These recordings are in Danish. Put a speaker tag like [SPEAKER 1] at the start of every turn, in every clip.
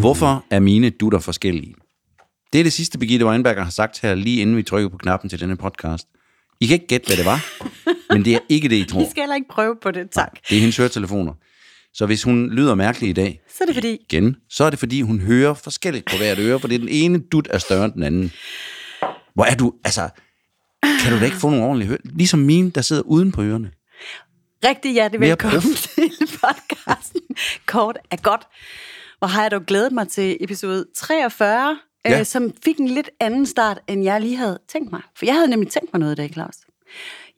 [SPEAKER 1] Hvorfor er mine dutter forskellige? Det er det sidste, Birgitte Weinberger har sagt her, lige inden vi trykker på knappen til denne podcast. I kan ikke gætte, hvad det var, men det er ikke det, I tror.
[SPEAKER 2] Vi skal heller ikke prøve på det, tak.
[SPEAKER 1] Det er hendes høretelefoner. Så hvis hun lyder mærkelig i dag,
[SPEAKER 2] Så er det fordi,
[SPEAKER 1] igen, så er det fordi, hun hører forskelligt på hvert øre, fordi den ene dut er større end den anden. Hvor er du, altså, kan du da ikke få nogle ordentlige hører? Ligesom mine, der sidder uden på ørerne.
[SPEAKER 2] rigtig hjertelig
[SPEAKER 1] Mere
[SPEAKER 2] velkommen
[SPEAKER 1] prof.
[SPEAKER 2] til podcasten Kort er godt. Hvor har jeg dog glædet mig til episode 43,
[SPEAKER 1] Ja.
[SPEAKER 2] ja. øh, som fik en lidt anden start, end jeg lige havde tænkt mig. For jeg havde nemlig tænkt mig noget i dag, Claus.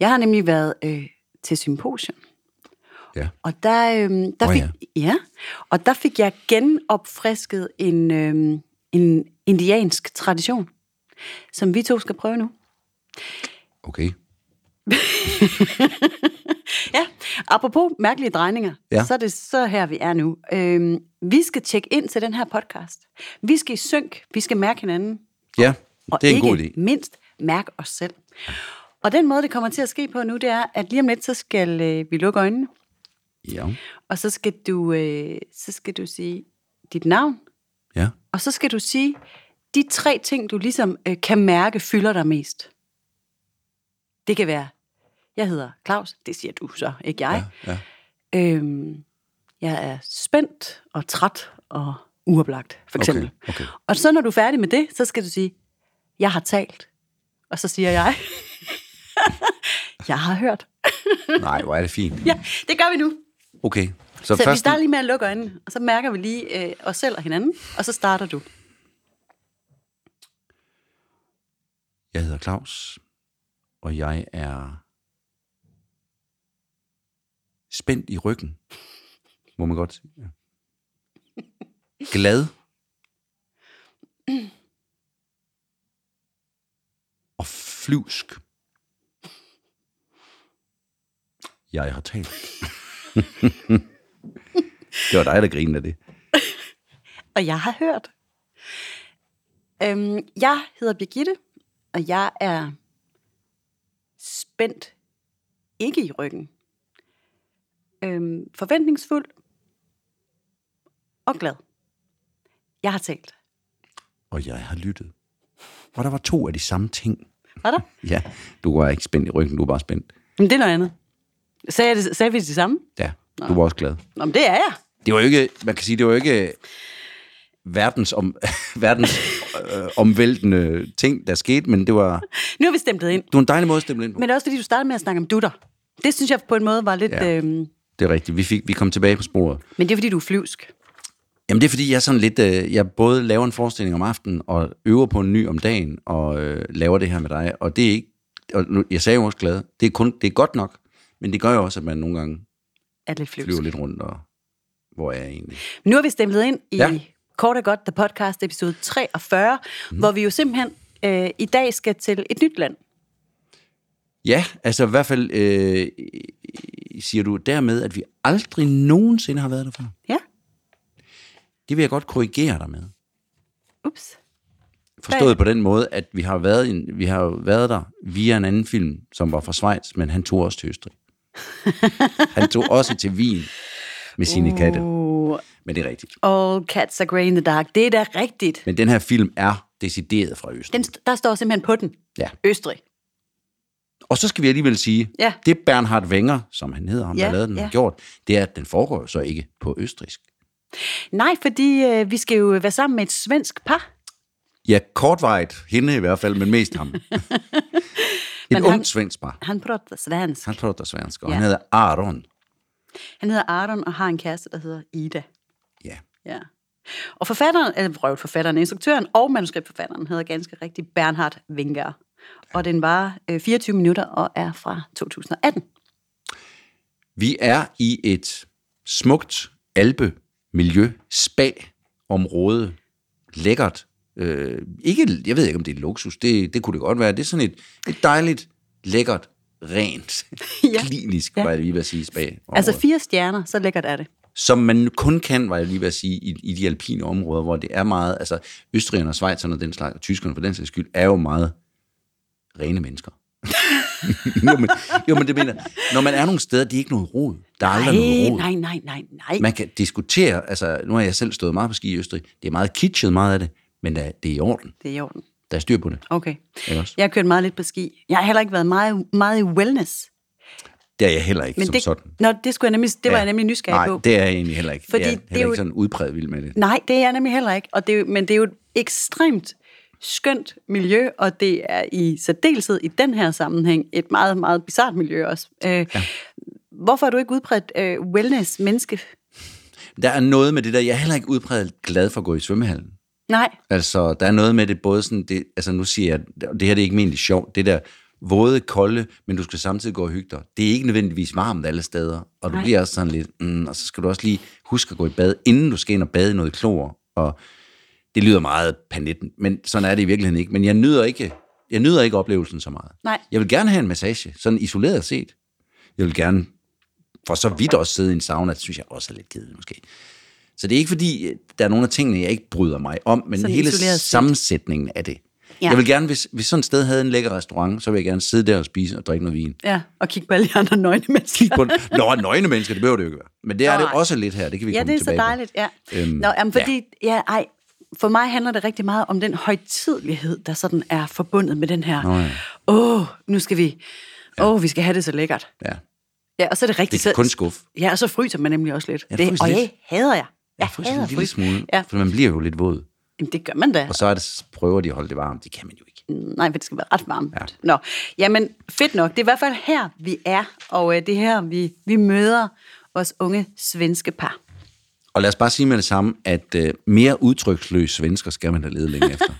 [SPEAKER 2] Jeg har nemlig været øh, til symposium.
[SPEAKER 1] Ja.
[SPEAKER 2] Og der, øhm, der
[SPEAKER 1] Nå
[SPEAKER 2] fik, ja. ja, og der fik jeg genopfrisket en, øhm, en indiansk tradition, som vi to skal prøve nu.
[SPEAKER 1] Okay.
[SPEAKER 2] Ja, apropos mærkelige drejninger,
[SPEAKER 1] Ja.
[SPEAKER 2] ja. så er det så her, vi er nu. Øhm, vi skal tjekke ind til den her podcast. Vi skal i synk, vi skal mærke hinanden.
[SPEAKER 1] Ja,
[SPEAKER 2] Og
[SPEAKER 1] det er en
[SPEAKER 2] ikke
[SPEAKER 1] god idé.
[SPEAKER 2] mindst mærke os selv. Og den måde, det kommer til at ske på nu, det er, at lige om lidt, så skal øh, vi lukke øjnene,
[SPEAKER 1] Ja,
[SPEAKER 2] og så skal, du, øh, så skal du sige dit navn,
[SPEAKER 1] ja.
[SPEAKER 2] Og så skal du sige de tre ting, du ligesom øh, kan mærke fylder dig mest. Det kan være, jeg hedder Claus, det siger du så, ikke jeg.
[SPEAKER 1] Ja, ja.
[SPEAKER 2] Øhm, jeg er spændt og træt og uoplagt, for
[SPEAKER 1] Okay,
[SPEAKER 2] eksempel.
[SPEAKER 1] okay.
[SPEAKER 2] Og så når du er færdig med det, så skal du sige, jeg har talt. Og så siger jeg, jeg har hørt.
[SPEAKER 1] Nej, hvor er det fint.
[SPEAKER 2] Ja, det gør vi nu.
[SPEAKER 1] Okay, så,
[SPEAKER 2] Så vi
[SPEAKER 1] først...
[SPEAKER 2] starter lige med at lukke øjnene, og så mærker vi lige øh, os selv og hinanden, og så starter du.
[SPEAKER 1] Jeg hedder Claus, og jeg er spændt i ryggen, må man godt sige. Ja. Glad. Og flyvsk. Jeg har talt. det var dig, der grinede af det.
[SPEAKER 2] og jeg har hørt. Øhm, jeg hedder Birgitte, og jeg er spændt ikke i ryggen. Øhm, forventningsfuld og glad. Jeg har talt.
[SPEAKER 1] Og jeg har lyttet. Og der var to af de samme ting.
[SPEAKER 2] Var der?
[SPEAKER 1] Ja, du var ikke spændt i ryggen, du var bare spændt.
[SPEAKER 2] Men det er noget andet. Sagde, jeg det, sagde vi det samme?
[SPEAKER 1] Ja, du var også glad.
[SPEAKER 2] Nå, men det er jeg.
[SPEAKER 1] det var jo ikke, man kan sige, det var jo ikke verdens, om, verdens øh, omvæltende ting, der skete, men det var,
[SPEAKER 2] Nu har vi stemt det ind.
[SPEAKER 1] det var en dejlig måde at stemme ind på.
[SPEAKER 2] Men det er også fordi, du startede med at snakke om dutter. Det synes jeg på en måde var lidt...
[SPEAKER 1] Ja.
[SPEAKER 2] Ja. Øhm,
[SPEAKER 1] Det er rigtigt, vi, fik, vi kom tilbage på sporet.
[SPEAKER 2] men det er fordi, du er flyvsk.
[SPEAKER 1] Jamen det er fordi, jeg er sådan lidt, øh, jeg både laver en forestilling om aftenen, og øver på en ny om dagen, og øh, laver det her med dig, og det er ikke, og nu, jeg sagde jo også glad, det er, kun, det er godt nok, men det gør jo også, at man nogle gange
[SPEAKER 2] Er lidt flyvsk.
[SPEAKER 1] flyver lidt rundt, og hvor er jeg egentlig?
[SPEAKER 2] Nu er vi stemplet ind i
[SPEAKER 1] Ja.
[SPEAKER 2] ja. Kort og godt, The Podcast, episode 43, mm. hvor vi jo simpelthen øh, i dag skal til et nyt land.
[SPEAKER 1] Ja, altså i hvert fald øh, siger du dermed, at vi aldrig nogensinde har været der før.
[SPEAKER 2] Ja,
[SPEAKER 1] Det vil jeg godt korrigere dig med.
[SPEAKER 2] ups.
[SPEAKER 1] Forstået på den måde, at vi har været, en, vi har jo været der via en anden film, som var fra Schweiz, men han tog også til Østrig. han tog også til Wien med sine uh. katte.
[SPEAKER 2] Uh,
[SPEAKER 1] Men det er rigtigt.
[SPEAKER 2] all cats are grey in the dark. Det er da rigtigt.
[SPEAKER 1] Men den her film er decideret fra Østrig.
[SPEAKER 2] Den, st- der står simpelthen på den.
[SPEAKER 1] Ja.
[SPEAKER 2] Østrig.
[SPEAKER 1] Og så skal vi alligevel sige,
[SPEAKER 2] Ja.
[SPEAKER 1] det Bernhard Wenger, som han hedder, ham ja,
[SPEAKER 2] Ja,
[SPEAKER 1] der lavede den, ja.
[SPEAKER 2] ja.
[SPEAKER 1] har gjort, det er, at den foregår jo så ikke på østrisk.
[SPEAKER 2] Nej, fordi øh, vi skal jo være sammen med et svensk par.
[SPEAKER 1] Ja, kortvarigt, hende i hvert fald, men mest ham. Et
[SPEAKER 2] Men han-
[SPEAKER 1] ungt svensk par.
[SPEAKER 2] Han prater svensk.
[SPEAKER 1] Han prater svensk, og ja.
[SPEAKER 2] Ja.
[SPEAKER 1] han hedder Aron.
[SPEAKER 2] Han hedder Aron og har en kæreste, der hedder Ida.
[SPEAKER 1] Ja.
[SPEAKER 2] Ja. Og forfatteren, eller røvet forfatteren, instruktøren og manuskriptforfatteren hedder ganske rigtigt Bernhard Wenger. Og den var øh, 24 minutter og er fra 2018.
[SPEAKER 1] Vi er i et smukt alpemiljø, spa-område, lækkert. Øh, ikke, jeg ved ikke, om det er luksus, det, det kunne det godt være. Det er sådan et, et dejligt, lækkert, rent, ja.
[SPEAKER 2] Ja.
[SPEAKER 1] klinisk,
[SPEAKER 2] Ja.
[SPEAKER 1] var jeg lige ved at sige, spa
[SPEAKER 2] Altså fire stjerner, så lækkert er det.
[SPEAKER 1] Som man kun kan, var jeg lige ved at sige, i, i de alpine områder, hvor det er meget, altså østrigerne og schweizerne og den slags, og tyskerne for den sags skyld, er jo meget rene mennesker. jo, men, jo, men det mener jeg. Når man er nogle steder, det er ikke noget rod. Der er aldrig noget rod.
[SPEAKER 2] nej, nej, nej, nej.
[SPEAKER 1] Man kan diskutere, altså nu har jeg selv stået meget på ski i Østrig. Det er meget kitschet meget af det, men der, det er i orden.
[SPEAKER 2] Det er i orden.
[SPEAKER 1] Der er styr på det.
[SPEAKER 2] Okay.
[SPEAKER 1] Ikke også?
[SPEAKER 2] Jeg har kørt meget lidt på ski. Jeg har heller ikke været meget, meget i wellness.
[SPEAKER 1] Det er jeg heller ikke
[SPEAKER 2] Men
[SPEAKER 1] som
[SPEAKER 2] det,
[SPEAKER 1] sådan.
[SPEAKER 2] Nå, det, skulle jeg nemlig, det var jeg nemlig nysgerrig
[SPEAKER 1] Nej,
[SPEAKER 2] på.
[SPEAKER 1] det er jeg egentlig heller ikke. Fordi
[SPEAKER 2] Fordi
[SPEAKER 1] jeg er
[SPEAKER 2] det er
[SPEAKER 1] heller ikke
[SPEAKER 2] jo-
[SPEAKER 1] sådan udpræget vild med det.
[SPEAKER 2] Nej, det er jeg nemlig heller ikke. Og det er, jo- men det er jo et ekstremt skønt miljø, og det er i særdeleshed i den her sammenhæng et meget, meget bizart miljø også. Øh, ja. Hvorfor er du ikke udbredt øh, wellness-menneske?
[SPEAKER 1] Der er noget med det der, jeg er heller ikke udpræget glad for at gå i svømmehallen.
[SPEAKER 2] Nej,
[SPEAKER 1] Altså, der er noget med det både sådan, det, altså nu siger jeg, og det her det er ikke meningen sjovt, det der våde, kolde, men du skal samtidig gå og hygge dig. Det er ikke nødvendigvis varmt alle steder, og du Nej.
[SPEAKER 2] Nej.
[SPEAKER 1] bliver også sådan lidt, mm, og så skal du også lige huske at gå i bad, inden du skal ind og bade i noget klor, og det lyder meget panetten, men sådan er det i virkeligheden ikke. Men jeg nyder ikke, jeg nyder ikke oplevelsen så meget.
[SPEAKER 2] Nej.
[SPEAKER 1] Jeg vil gerne have en massage, sådan isoleret set. Jeg vil gerne for så vidt også sidde i en sauna, det synes jeg også er lidt kedeligt måske. Så det er ikke fordi, øh, der er nogle af tingene, jeg ikke bryder mig om, men
[SPEAKER 2] Sådan
[SPEAKER 1] hele
[SPEAKER 2] isoleret set.
[SPEAKER 1] sammensætningen af det. Ja.
[SPEAKER 2] Ja.
[SPEAKER 1] Jeg vil gerne, hvis, hvis sådan et sted havde en lækker restaurant, så vil jeg gerne sidde der og spise og drikke noget vin.
[SPEAKER 2] ja, og kig på alle de andre nøgne mennesker.
[SPEAKER 1] På en, nå, nøgne mennesker, det behøver det jo ikke være. Men det er det
[SPEAKER 2] Nej.
[SPEAKER 1] også lidt her, det kan vi
[SPEAKER 2] Ja,
[SPEAKER 1] komme
[SPEAKER 2] det er så
[SPEAKER 1] tilbage
[SPEAKER 2] dejligt, ja.
[SPEAKER 1] Øhm,
[SPEAKER 2] Øhm, Nå, jamen,
[SPEAKER 1] ja.
[SPEAKER 2] fordi, ja. ja, ej, for mig handler det rigtig meget om den højtidlighed, der sådan er forbundet med den her, åh,
[SPEAKER 1] ja.
[SPEAKER 2] oh, nu skal vi, åh, oh, vi skal have det så lækkert.
[SPEAKER 1] på. Ja.
[SPEAKER 2] Ja, og så er det
[SPEAKER 1] Det
[SPEAKER 2] rigtigt.
[SPEAKER 1] kan
[SPEAKER 2] så,
[SPEAKER 1] kun skuffe.
[SPEAKER 2] Ja, og så fryser man nemlig også lidt.
[SPEAKER 1] Ja,
[SPEAKER 2] Ja,
[SPEAKER 1] fryser
[SPEAKER 2] det, og
[SPEAKER 1] lidt.
[SPEAKER 2] jeg hader jeg.
[SPEAKER 1] Jeg
[SPEAKER 2] Jeg
[SPEAKER 1] får sådan
[SPEAKER 2] hader
[SPEAKER 1] en lille
[SPEAKER 2] frys.
[SPEAKER 1] smule, ja.
[SPEAKER 2] Ja,
[SPEAKER 1] for man bliver jo lidt våd.
[SPEAKER 2] jamen, det gør man da.
[SPEAKER 1] Og så er det, så prøver de at holde det varmt. Det kan man jo ikke.
[SPEAKER 2] Nej, for det skal være ret varmt. Ja. Nå, jamen fedt nok. Det er i hvert fald her, vi er, og øh, det er her, vi, vi møder vores unge svenske par.
[SPEAKER 1] Og lad os bare sige med det samme, at øh, mere udtryksløse svensker skal man da lede længe efter.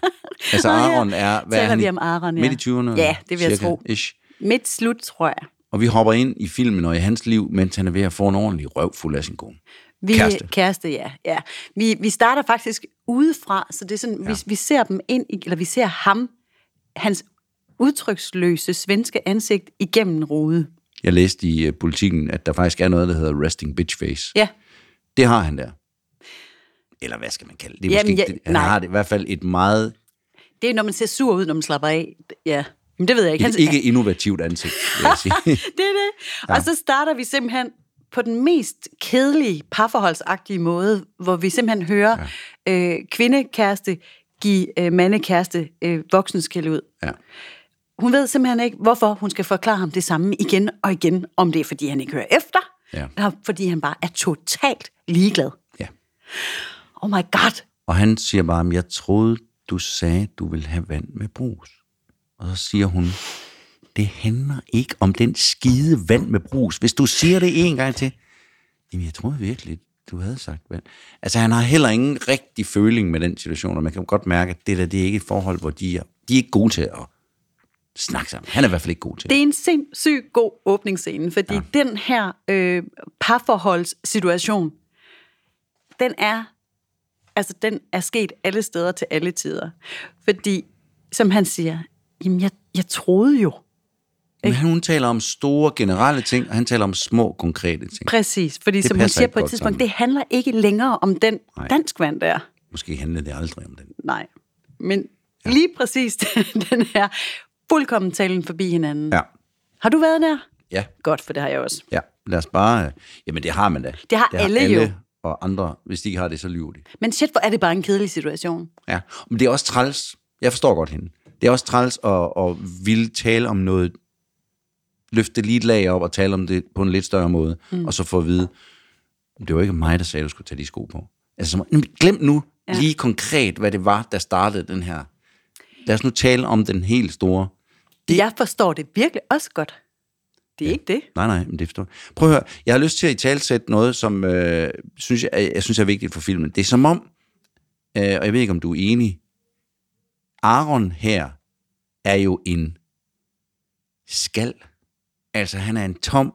[SPEAKER 1] altså
[SPEAKER 2] Nå ja,
[SPEAKER 1] Aron er, hvad er
[SPEAKER 2] taler
[SPEAKER 1] han, i-
[SPEAKER 2] vi om Aron, ja.
[SPEAKER 1] midt i 20'erne?
[SPEAKER 2] Ja, det vil jeg
[SPEAKER 1] cirka,
[SPEAKER 2] tro.
[SPEAKER 1] Ish.
[SPEAKER 2] Midt slut, tror jeg.
[SPEAKER 1] Og vi hopper ind i filmen og i hans liv, mens han er ved at få en ordentlig røv fuld af sin kone.
[SPEAKER 2] Vi,
[SPEAKER 1] Kæreste.
[SPEAKER 2] Kæreste, ja. ja. Vi, vi starter faktisk udefra, så det er sådan, ja. vi, vi ser dem ind, i, eller vi ser ham, hans udtryksløse svenske ansigt igennem rode.
[SPEAKER 1] Jeg læste i uh, politikken, at der faktisk er noget, der hedder resting bitch face.
[SPEAKER 2] Ja,
[SPEAKER 1] Det har han der. Eller hvad skal man kalde det? det er
[SPEAKER 2] Jamen,
[SPEAKER 1] måske
[SPEAKER 2] jeg-
[SPEAKER 1] ikke, det. Han
[SPEAKER 2] nej.
[SPEAKER 1] har det i hvert fald et meget
[SPEAKER 2] det er, når man ser sur ud, når man slapper af. Ja, men det ved jeg ikke.
[SPEAKER 1] et ikke innovativt ansigt, vil jeg sige.
[SPEAKER 2] det er det. Ja. Og så starter vi simpelthen på den mest kedelige, parforholdsagtige måde, hvor vi simpelthen hører ja. øh, kvindekæreste give øh, mandekæreste øh, voksenskæld ud.
[SPEAKER 1] Ja.
[SPEAKER 2] Hun ved simpelthen ikke, hvorfor hun skal forklare ham det samme igen og igen, om det er, fordi han ikke hører efter,
[SPEAKER 1] Ja.
[SPEAKER 2] eller fordi han bare er totalt ligeglad.
[SPEAKER 1] ja.
[SPEAKER 2] Oh my god.
[SPEAKER 1] Og han siger bare, "Men jeg troede, du sagde, du ville have vand med brus. Og så siger hun, det handler ikke om den skide vand med brus. Hvis du siger det en gang til, jamen jeg troede virkelig, du havde sagt vand. Altså han har heller ingen rigtig føling med den situation, og man kan jo godt mærke, at det der, det er ikke et forhold, hvor de er, de er ikke gode til at snakke sammen. Han er i hvert fald ikke god til
[SPEAKER 2] Det
[SPEAKER 1] det.
[SPEAKER 2] er en sindssygt god åbningsscene, fordi ja. den her øh, parforholdssituation, den er, altså, den er sket alle steder til alle tider. Fordi, som han siger, jamen, jeg, jeg troede jo
[SPEAKER 1] Men han, hun taler om store generelle ting, og han taler om små konkrete ting.
[SPEAKER 2] præcis, fordi som han
[SPEAKER 1] passer
[SPEAKER 2] siger
[SPEAKER 1] ikke
[SPEAKER 2] på et
[SPEAKER 1] godt
[SPEAKER 2] tidspunkt,
[SPEAKER 1] sammen.
[SPEAKER 2] det handler ikke længere om den
[SPEAKER 1] Nej.
[SPEAKER 2] danskvand, der er.
[SPEAKER 1] Måske handler det aldrig om den.
[SPEAKER 2] Nej, men ja. lige præcis den her fuldkommen talen forbi hinanden.
[SPEAKER 1] Ja,
[SPEAKER 2] Har du været der?
[SPEAKER 1] ja.
[SPEAKER 2] Godt, for det har jeg også.
[SPEAKER 1] Ja, lad os bare... øh, Jamen, det har man da.
[SPEAKER 2] Det har alle jo.
[SPEAKER 1] Og andre, hvis de ikke har det, så lyver de.
[SPEAKER 2] Men shit, hvor er det bare en kedelig situation.
[SPEAKER 1] Ja. Men det er også træls. Jeg forstår godt hende. Det er også træls at, at ville tale om noget... Løfte det lige et lag op og tale om det på en lidt større måde. Mm. Og så få at vide, det var ikke mig, der sagde, at du skulle tage de sko på. Altså, som- jamen, glem nu ja. lige konkret, hvad det var, der startede den her... Lad os nu tale om den helt store...
[SPEAKER 2] Det... Jeg forstår det virkelig også godt. Det er ja. ikke det.
[SPEAKER 1] Nej, nej, men det forstår jeg. Prøv at høre, jeg har lyst til at i talsætte noget, som øh, synes jeg, jeg synes er vigtigt for filmen. Det er som om, øh, og jeg ved ikke, om du er enig, Aaron her er jo en skal. Altså, han er en tom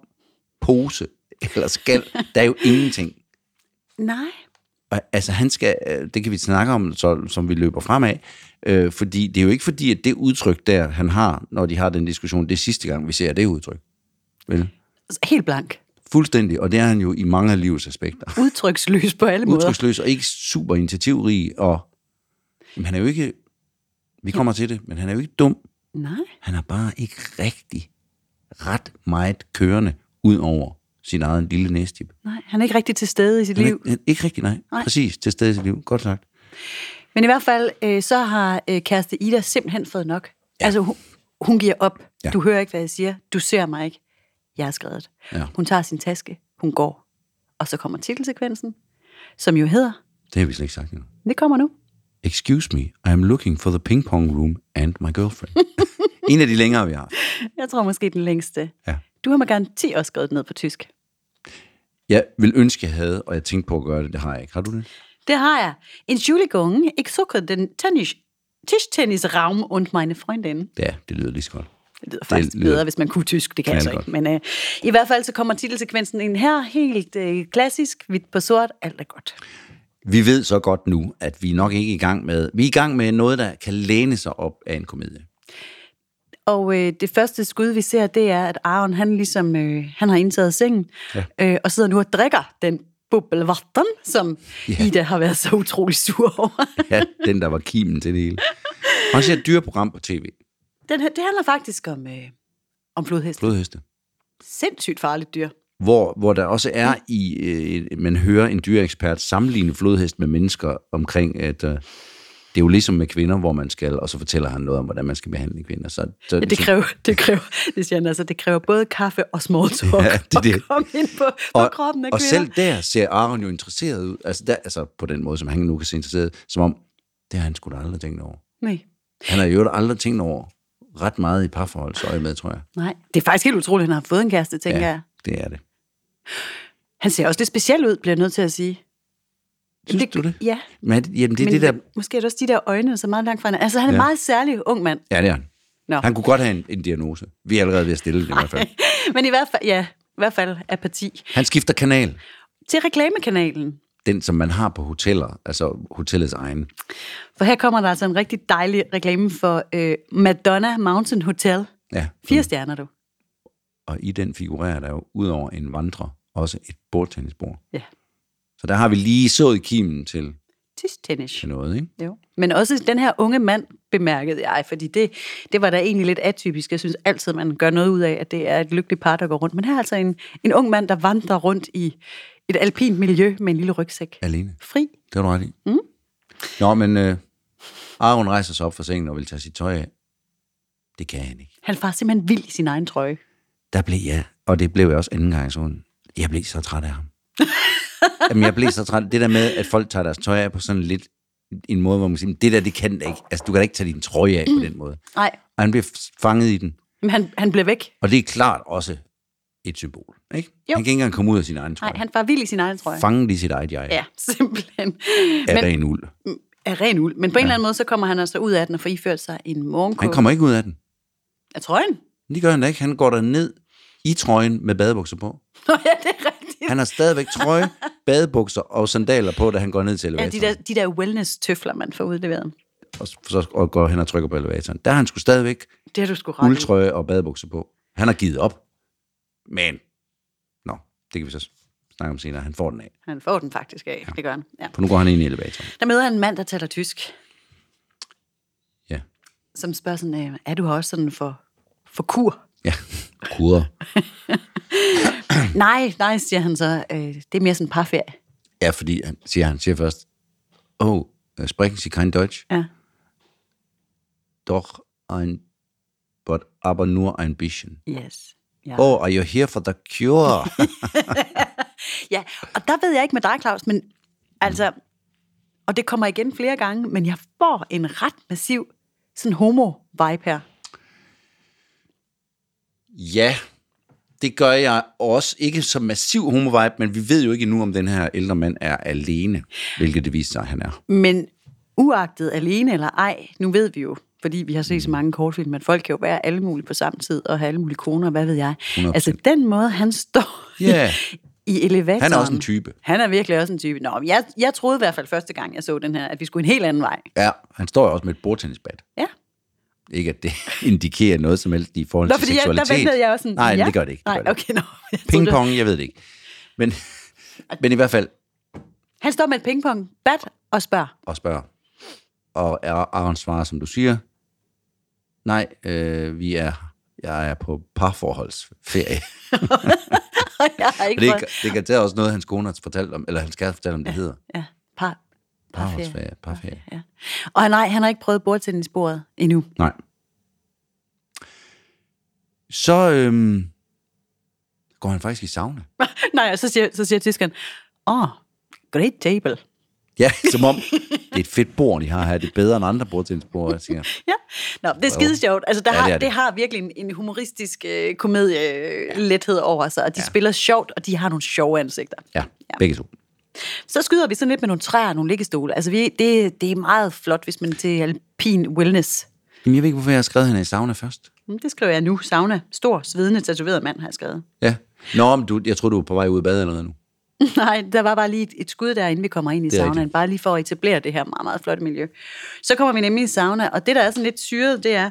[SPEAKER 1] pose, eller skal. Der er jo ingenting.
[SPEAKER 2] Nej.
[SPEAKER 1] Og, altså, han skal, øh, det kan vi snakke om, så, som vi løber fremad, øh, fordi det er jo ikke fordi, at det udtryk der, han har, når de har den diskussion, det er sidste gang, vi ser det udtryk. Vel?
[SPEAKER 2] Altså, Helt blank.
[SPEAKER 1] Fuldstændig, og det er han jo i mange af livets aspekter.
[SPEAKER 2] Udtryksløs på alle måder.
[SPEAKER 1] Udtryksløs og ikke super initiativrig, og jamen, han er jo ikke, vi kommer til det, men han er jo ikke dum.
[SPEAKER 2] Nej.
[SPEAKER 1] Han har bare ikke rigtig ret meget kørende ud over sin egen lille næstip.
[SPEAKER 2] Nej, han er ikke rigtig til stede i sit
[SPEAKER 1] Han er
[SPEAKER 2] liv.
[SPEAKER 1] Ikke, ikke rigtig, nej. nej.
[SPEAKER 2] Nej.
[SPEAKER 1] Præcis, til stede i sit liv. Godt sagt.
[SPEAKER 2] Men i hvert fald, øh, så har øh, kæreste Ida simpelthen fået nok. Ja. Altså, hun, hun giver op.
[SPEAKER 1] Ja.
[SPEAKER 2] Ja. Du hører ikke, hvad jeg siger. Du ser mig ikke. Jeg er skrevet.
[SPEAKER 1] Ja.
[SPEAKER 2] Hun tager sin taske. Hun går. Og så kommer titelsekvensen, som jo hedder,
[SPEAKER 1] Det har vi slet ikke sagt endnu.
[SPEAKER 2] det kommer nu.
[SPEAKER 1] Excuse me, I am looking for the ping pong room and my girlfriend. en af de længere, vi har.
[SPEAKER 2] Jeg tror måske den længste.
[SPEAKER 1] Ja.
[SPEAKER 2] Du har med garanti også skrevet den ned på tysk.
[SPEAKER 1] Jeg vil ønske, jeg havde, og jeg tænkte på at gøre det. Det har jeg ikke. Har du det?
[SPEAKER 2] Det har jeg. Entschuldigung, ich suche den Tennis, Tischtennisraum und meine Freundin.
[SPEAKER 1] Ja, det lyder lige så godt.
[SPEAKER 2] Det lyder faktisk
[SPEAKER 1] lyder
[SPEAKER 2] bedre, hvis man kunne tysk. Det kan jeg så ikke. Men øh, i hvert fald så kommer titelsekvensen ind her. Helt øh, klassisk, hvidt på sort. Alt er godt.
[SPEAKER 1] Vi ved så godt nu, at vi er nok ikke er i gang med... Vi er i gang med noget, der kan læne sig op af en komedie.
[SPEAKER 2] Og øh, det første skud, vi ser, det er, at Aron, han ligesom, øh, han har indtaget sengen, ja. øh, og sidder nu og drikker den bubbelvatten, som
[SPEAKER 1] Ja.
[SPEAKER 2] yeah. Ida har været så utrolig sur over.
[SPEAKER 1] Ja, den, der var kimen til det hele. Og han ser et dyreprogram på tv.
[SPEAKER 2] den, her- det handler faktisk om, øh, om flodhesten.
[SPEAKER 1] Blodheste.
[SPEAKER 2] Sindssygt farligt dyr.
[SPEAKER 1] Hvor, hvor der også er i... Øh, man hører en dyreekspert sammenligne flodhest med mennesker omkring, at... Øh, det er jo ligesom med kvinder, hvor man skal, og så fortæller han noget om, hvordan man skal behandle kvinder. Så, så,
[SPEAKER 2] Det kræver, det kræver, det siger han, altså, det kræver både kaffe og small talk
[SPEAKER 1] Ja, det er det.
[SPEAKER 2] at komme ind på, på og, kroppen af
[SPEAKER 1] og
[SPEAKER 2] kvinder.
[SPEAKER 1] selv der ser Aron jo interesseret ud, altså, der, altså på den måde, som han nu kan se interesseret, som om, det har han sgu da aldrig tænkt over.
[SPEAKER 2] Nej.
[SPEAKER 1] Han har jo aldrig tænkt over ret meget i parforholdsøje med, tror jeg.
[SPEAKER 2] Nej, det er faktisk helt utroligt, at han har fået en kæreste, tænker ja. jeg.
[SPEAKER 1] det er det.
[SPEAKER 2] Han ser også lidt speciel ud, bliver jeg nødt til at sige.
[SPEAKER 1] Synes det, du det?
[SPEAKER 2] Ja,
[SPEAKER 1] Men, er det- jamen, det er
[SPEAKER 2] men
[SPEAKER 1] det der...
[SPEAKER 2] måske er det også de der øjne, så meget langt fra hinanden. Altså, han er en
[SPEAKER 1] Ja.
[SPEAKER 2] meget særlig ung mand.
[SPEAKER 1] Ja, det er han.
[SPEAKER 2] Nå.
[SPEAKER 1] Han kunne godt have en, en diagnose. Vi er allerede ved at stille den i hvert fald.
[SPEAKER 2] Men i hvert fald, ja, i hvert fald er parti.
[SPEAKER 1] Han skifter kanal.
[SPEAKER 2] Til reklamekanalen.
[SPEAKER 1] Den, som man har på hoteller. Altså hotellets egen.
[SPEAKER 2] For her kommer der altså en rigtig dejlig reklame for øh, Madonna Mountain Hotel.
[SPEAKER 1] Ja.
[SPEAKER 2] Fire stjerner, du.
[SPEAKER 1] Og i den figurerer der jo, ud over en vandrer, også et bordtennisbord.
[SPEAKER 2] Ja.
[SPEAKER 1] Så der har vi lige så i kimen til,
[SPEAKER 2] Tysk tennis.
[SPEAKER 1] til noget, ikke?
[SPEAKER 2] Jo. Men også den her unge mand bemærkede jeg, fordi det, det var da egentlig lidt atypisk. Jeg synes altid, man gør noget ud af, at det er et lykkeligt par, der går rundt. Men her er altså en, en ung mand, der vandrer rundt i et alpint miljø med en lille rygsæk.
[SPEAKER 1] Alene.
[SPEAKER 2] Fri.
[SPEAKER 1] Det var du ret i. Mm. Nå, men øh, Aron rejser sig op fra sengen og vil tage sit tøj af. Det kan han ikke.
[SPEAKER 2] Han er faktisk simpelthen vild i sin egen trøje.
[SPEAKER 1] Der blev jeg, og det blev jeg også anden gang sådan. Jeg blev så træt af ham. Jamen, jeg blev så træt. Det der med, at folk tager deres tøj af på sådan lidt en måde, hvor man siger, det der, det kan da ikke. Altså, du kan da ikke tage din trøje af på den måde.
[SPEAKER 2] Nej,
[SPEAKER 1] Og han bliver f- fanget i den.
[SPEAKER 2] men han, han blev væk.
[SPEAKER 1] Og det er klart også et symbol. Ikke?
[SPEAKER 2] Jo.
[SPEAKER 1] Han kan ikke engang komme ud af sin egen trøje.
[SPEAKER 2] Nej, han var vild i sin egen trøje.
[SPEAKER 1] Fange lige sit eget jeg
[SPEAKER 2] Ja, simpelthen.
[SPEAKER 1] af
[SPEAKER 2] Men,
[SPEAKER 1] ren uld.
[SPEAKER 2] af ren uld. Men på en eller anden måde, så kommer han altså ud af den og får iført sig en morgenkåbe.
[SPEAKER 1] Han kommer ikke ud af den.
[SPEAKER 2] Af trøjen?
[SPEAKER 1] Men det gør han da ikke. Han går der ned i trøjen med badebukser på.
[SPEAKER 2] Nå ja, det er rigtigt.
[SPEAKER 1] Han har stadigvæk trøje, badebukser og sandaler på, da han går ned til
[SPEAKER 2] Ja,
[SPEAKER 1] elevatoren.
[SPEAKER 2] de der, de der wellness-tøfler, man får udleveret.
[SPEAKER 1] og, så, og går hen og trykker på elevatoren. Der har han sgu stadigvæk
[SPEAKER 2] Det har du sgu ret i.
[SPEAKER 1] uldtrøje og badebukser på. Han har givet op. Men, nå, det kan vi så snakke om senere. Han får den af.
[SPEAKER 2] Han får den faktisk af, ja. det gør han. Ja.
[SPEAKER 1] For nu går han ind i elevatoren.
[SPEAKER 2] Der møder han en mand, der taler tysk,
[SPEAKER 1] Ja.
[SPEAKER 2] som spørger sådan, øh, er du her også sådan for, for kur?
[SPEAKER 1] Ja. Kuder.
[SPEAKER 2] Nej, nej, siger han så. Øh, det er mere sådan en parferie.
[SPEAKER 1] Ja, fordi han siger, han siger først, oh, sprechen Sie kein Deutsch?
[SPEAKER 2] Ja.
[SPEAKER 1] Doch ein, but aber nur ein bisschen.
[SPEAKER 2] Yes. Ja.
[SPEAKER 1] Oh, are you here for the cure?
[SPEAKER 2] ja, og der ved jeg ikke med dig, Claus, men altså, og det kommer igen flere gange, men jeg får en ret massiv sådan homo-vibe her.
[SPEAKER 1] Ja, det gør jeg også. Ikke så massiv homovibe, men vi ved jo ikke endnu, om den her ældre mand er alene, hvilket det viser sig, at han er.
[SPEAKER 2] Men uagtet alene eller ej, nu ved vi jo, fordi vi har set så mange kortfilm, at folk kan jo være alle mulige på samme tid og have alle mulige koner, og hvad ved jeg.
[SPEAKER 1] 100%.
[SPEAKER 2] Altså den måde, han står
[SPEAKER 1] Ja.
[SPEAKER 2] yeah. i elevatoren.
[SPEAKER 1] Han er også en type.
[SPEAKER 2] Han er virkelig også en type. Nå, men jeg, jeg troede i hvert fald første gang, jeg så den her, at vi skulle en helt anden vej.
[SPEAKER 1] Ja, han står jo også med et bordtennisbat.
[SPEAKER 2] Ja.
[SPEAKER 1] Ikke at det indikerer noget som helst i forhold
[SPEAKER 2] Nå,
[SPEAKER 1] til
[SPEAKER 2] fordi jeg,
[SPEAKER 1] seksualitet.
[SPEAKER 2] der ventede jeg også sådan,
[SPEAKER 1] Nej,
[SPEAKER 2] ja.
[SPEAKER 1] det gør det ikke. Det
[SPEAKER 2] Nej,
[SPEAKER 1] gør det
[SPEAKER 2] okay, nå. Jeg
[SPEAKER 1] ikke.
[SPEAKER 2] troede,
[SPEAKER 1] Ping pong, jeg ved det ikke. Men, men i hvert fald
[SPEAKER 2] Han står med et pingpong bat og spørger.
[SPEAKER 1] og spørger. Og er Aron svarer, som du siger, nej, øh, vi er Jeg er på parforholdsferie.
[SPEAKER 2] jeg har ikke
[SPEAKER 1] det,
[SPEAKER 2] prøvet-
[SPEAKER 1] er- det kan tage også noget, hans kone har fortalt om, eller hans kæreste fortalt om, det hedder.
[SPEAKER 2] Ja, par, parferie.
[SPEAKER 1] Parforholdsferie. Parferie.
[SPEAKER 2] Ja. Og nej, han har ikke prøvet bordtennisbordet endnu.
[SPEAKER 1] Nej. Så øhm, går han faktisk i sauna.
[SPEAKER 2] nej, og så siger, så siger tyskeren, åh, oh, great table.
[SPEAKER 1] Ja, som om det er et fedt bord, de har her. Det er bedre end andre bordtennisbord. Jeg tænker,
[SPEAKER 2] Ja. Nå, det er skide sjovt. Altså, der
[SPEAKER 1] Ja,
[SPEAKER 2] ja, har,
[SPEAKER 1] det
[SPEAKER 2] det,
[SPEAKER 1] er det.
[SPEAKER 2] det har virkelig en, en humoristisk øh, komedielethed over sig, og de ja. spiller sjovt, og de har nogle sjove ansigter.
[SPEAKER 1] ja, begge to.
[SPEAKER 2] Så skyder vi sådan lidt med nogle træer og nogle liggestole. Altså, vi, det, det er meget flot, hvis man er til alpin wellness.
[SPEAKER 1] Jamen, jeg ved ikke, hvorfor jeg har skrevet, at han er i sauna først.
[SPEAKER 2] Mm, Det skriver jeg nu. Sauna. Stor, svedende, tatoveret mand, har jeg skrevet.
[SPEAKER 1] Ja. Nå, men du, jeg tror, du er på vej ud i badet eller noget nu.
[SPEAKER 2] Nej, der var bare lige et, et skud der, inden vi kommer ind i
[SPEAKER 1] er
[SPEAKER 2] saunaen.
[SPEAKER 1] rigtigt.
[SPEAKER 2] Bare lige for at etablere det her meget, meget flotte miljø. Så kommer vi nemlig i sauna, og det, der er sådan lidt syret, det er,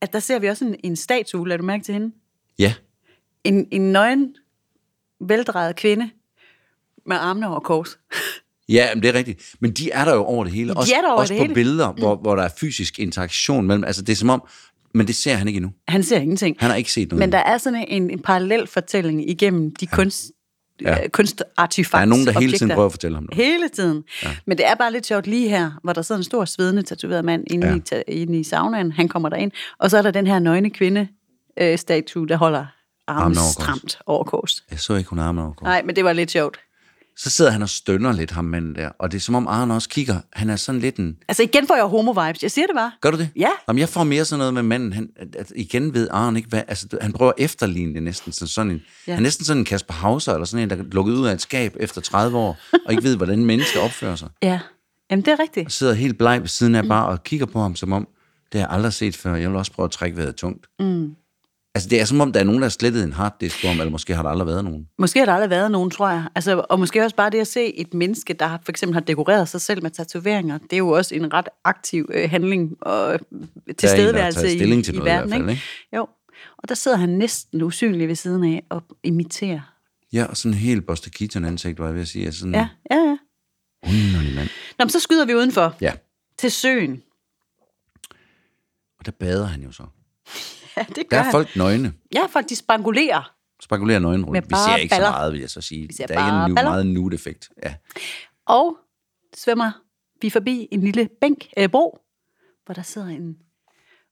[SPEAKER 2] at der ser vi også en, en statue. Lad du mærke til hende?
[SPEAKER 1] Ja.
[SPEAKER 2] En, en nøgen, veldrejet kvinde med armene over kors.
[SPEAKER 1] Ja, men det er rigtigt. Men de er der jo over det hele. Også,
[SPEAKER 2] er der over
[SPEAKER 1] også
[SPEAKER 2] det
[SPEAKER 1] på
[SPEAKER 2] hele. Mm.
[SPEAKER 1] billeder, hvor, hvor der er fysisk interaktion mellem. Altså, det er som om... Men det ser han ikke endnu.
[SPEAKER 2] Han ser ingenting.
[SPEAKER 1] Han har ikke set noget.
[SPEAKER 2] Men
[SPEAKER 1] endnu.
[SPEAKER 2] der er sådan en, en parallel fortælling igennem de kunst,
[SPEAKER 1] Mm. Ja.
[SPEAKER 2] ja. øh, kunstartefakts.
[SPEAKER 1] der er nogen, der hele tiden prøver at fortælle ham noget.
[SPEAKER 2] Hele tiden. Ja. Men det er bare lidt sjovt lige her, hvor der sidder en stor svedende tatoveret mand inde,
[SPEAKER 1] Ja.
[SPEAKER 2] ja. i, ta- inde i saunaen. Han kommer derind, og så er der den her nøgne kvinde øh, statue, der holder armen
[SPEAKER 1] Armen over kors.
[SPEAKER 2] stramt over kors.
[SPEAKER 1] Jeg så ikke, hun armene over
[SPEAKER 2] Nej, men det var lidt sjovt.
[SPEAKER 1] Så sidder han og stønner lidt, ham manden der. Og det er som om Arne også kigger. Han er sådan lidt en...
[SPEAKER 2] Altså igen får jeg homo-vibes. Jeg siger det bare.
[SPEAKER 1] Gør du det?
[SPEAKER 2] Ja.
[SPEAKER 1] Jamen, jeg får mere sådan noget med manden. Han, at, at igen ved Arne ikke, hvad... Altså, du- han prøver at efterligne det næsten. Sådan, sådan en, ja.
[SPEAKER 2] Ja.
[SPEAKER 1] Han er næsten sådan en Kasper Hauser, eller sådan en, der er lukket ud af et skab efter 30 år, og ikke ved, hvordan mennesker opfører sig.
[SPEAKER 2] Ja, Jamen, det er rigtigt.
[SPEAKER 1] sidder helt bleg ved siden af bare og kigger på ham, som om, det har jeg aldrig set før, jeg vil også prøve at trække vejret tungt. Mm. Altså, det er som om, der er nogen, der har slettet en harddisk på ham, eller måske har der aldrig været nogen.
[SPEAKER 2] Måske har der aldrig været nogen, tror jeg. Altså, og måske også bare det at se et menneske, der har- for eksempel har dekoreret sig selv med tatoveringer. Det er jo også en ret aktiv øh, handling og øh, tilstedeværelse
[SPEAKER 1] taget
[SPEAKER 2] i,
[SPEAKER 1] stilling til
[SPEAKER 2] i
[SPEAKER 1] noget i
[SPEAKER 2] verden.
[SPEAKER 1] hvert fald,
[SPEAKER 2] ikke? Jo. Og der sidder han næsten usynlig ved siden af og imiterer.
[SPEAKER 1] Ja, og sådan helt Buster Keaton ansigt, var jeg ved at sige. Altså, sådan,
[SPEAKER 2] Ja, ja, ja.
[SPEAKER 1] Underlig mand.
[SPEAKER 2] Nå, men så skyder vi udenfor
[SPEAKER 1] Ja,
[SPEAKER 2] til søen.
[SPEAKER 1] og der bader han jo så.
[SPEAKER 2] Ja, det
[SPEAKER 1] Der
[SPEAKER 2] gør
[SPEAKER 1] er
[SPEAKER 2] folk...
[SPEAKER 1] folk nøgne.
[SPEAKER 2] han. Ja, folk de spangulerer.
[SPEAKER 1] Spangulerer nøgen rundt.
[SPEAKER 2] Med
[SPEAKER 1] Vi
[SPEAKER 2] bare
[SPEAKER 1] ser ikke
[SPEAKER 2] baller.
[SPEAKER 1] så meget, vil jeg så sige.
[SPEAKER 2] ser
[SPEAKER 1] der er ikke
[SPEAKER 2] bare
[SPEAKER 1] en nu,
[SPEAKER 2] baller.
[SPEAKER 1] meget nude-effekt. Ja.
[SPEAKER 2] Og svømmer vi forbi en lille bænk, øh, bro, hvor der sidder en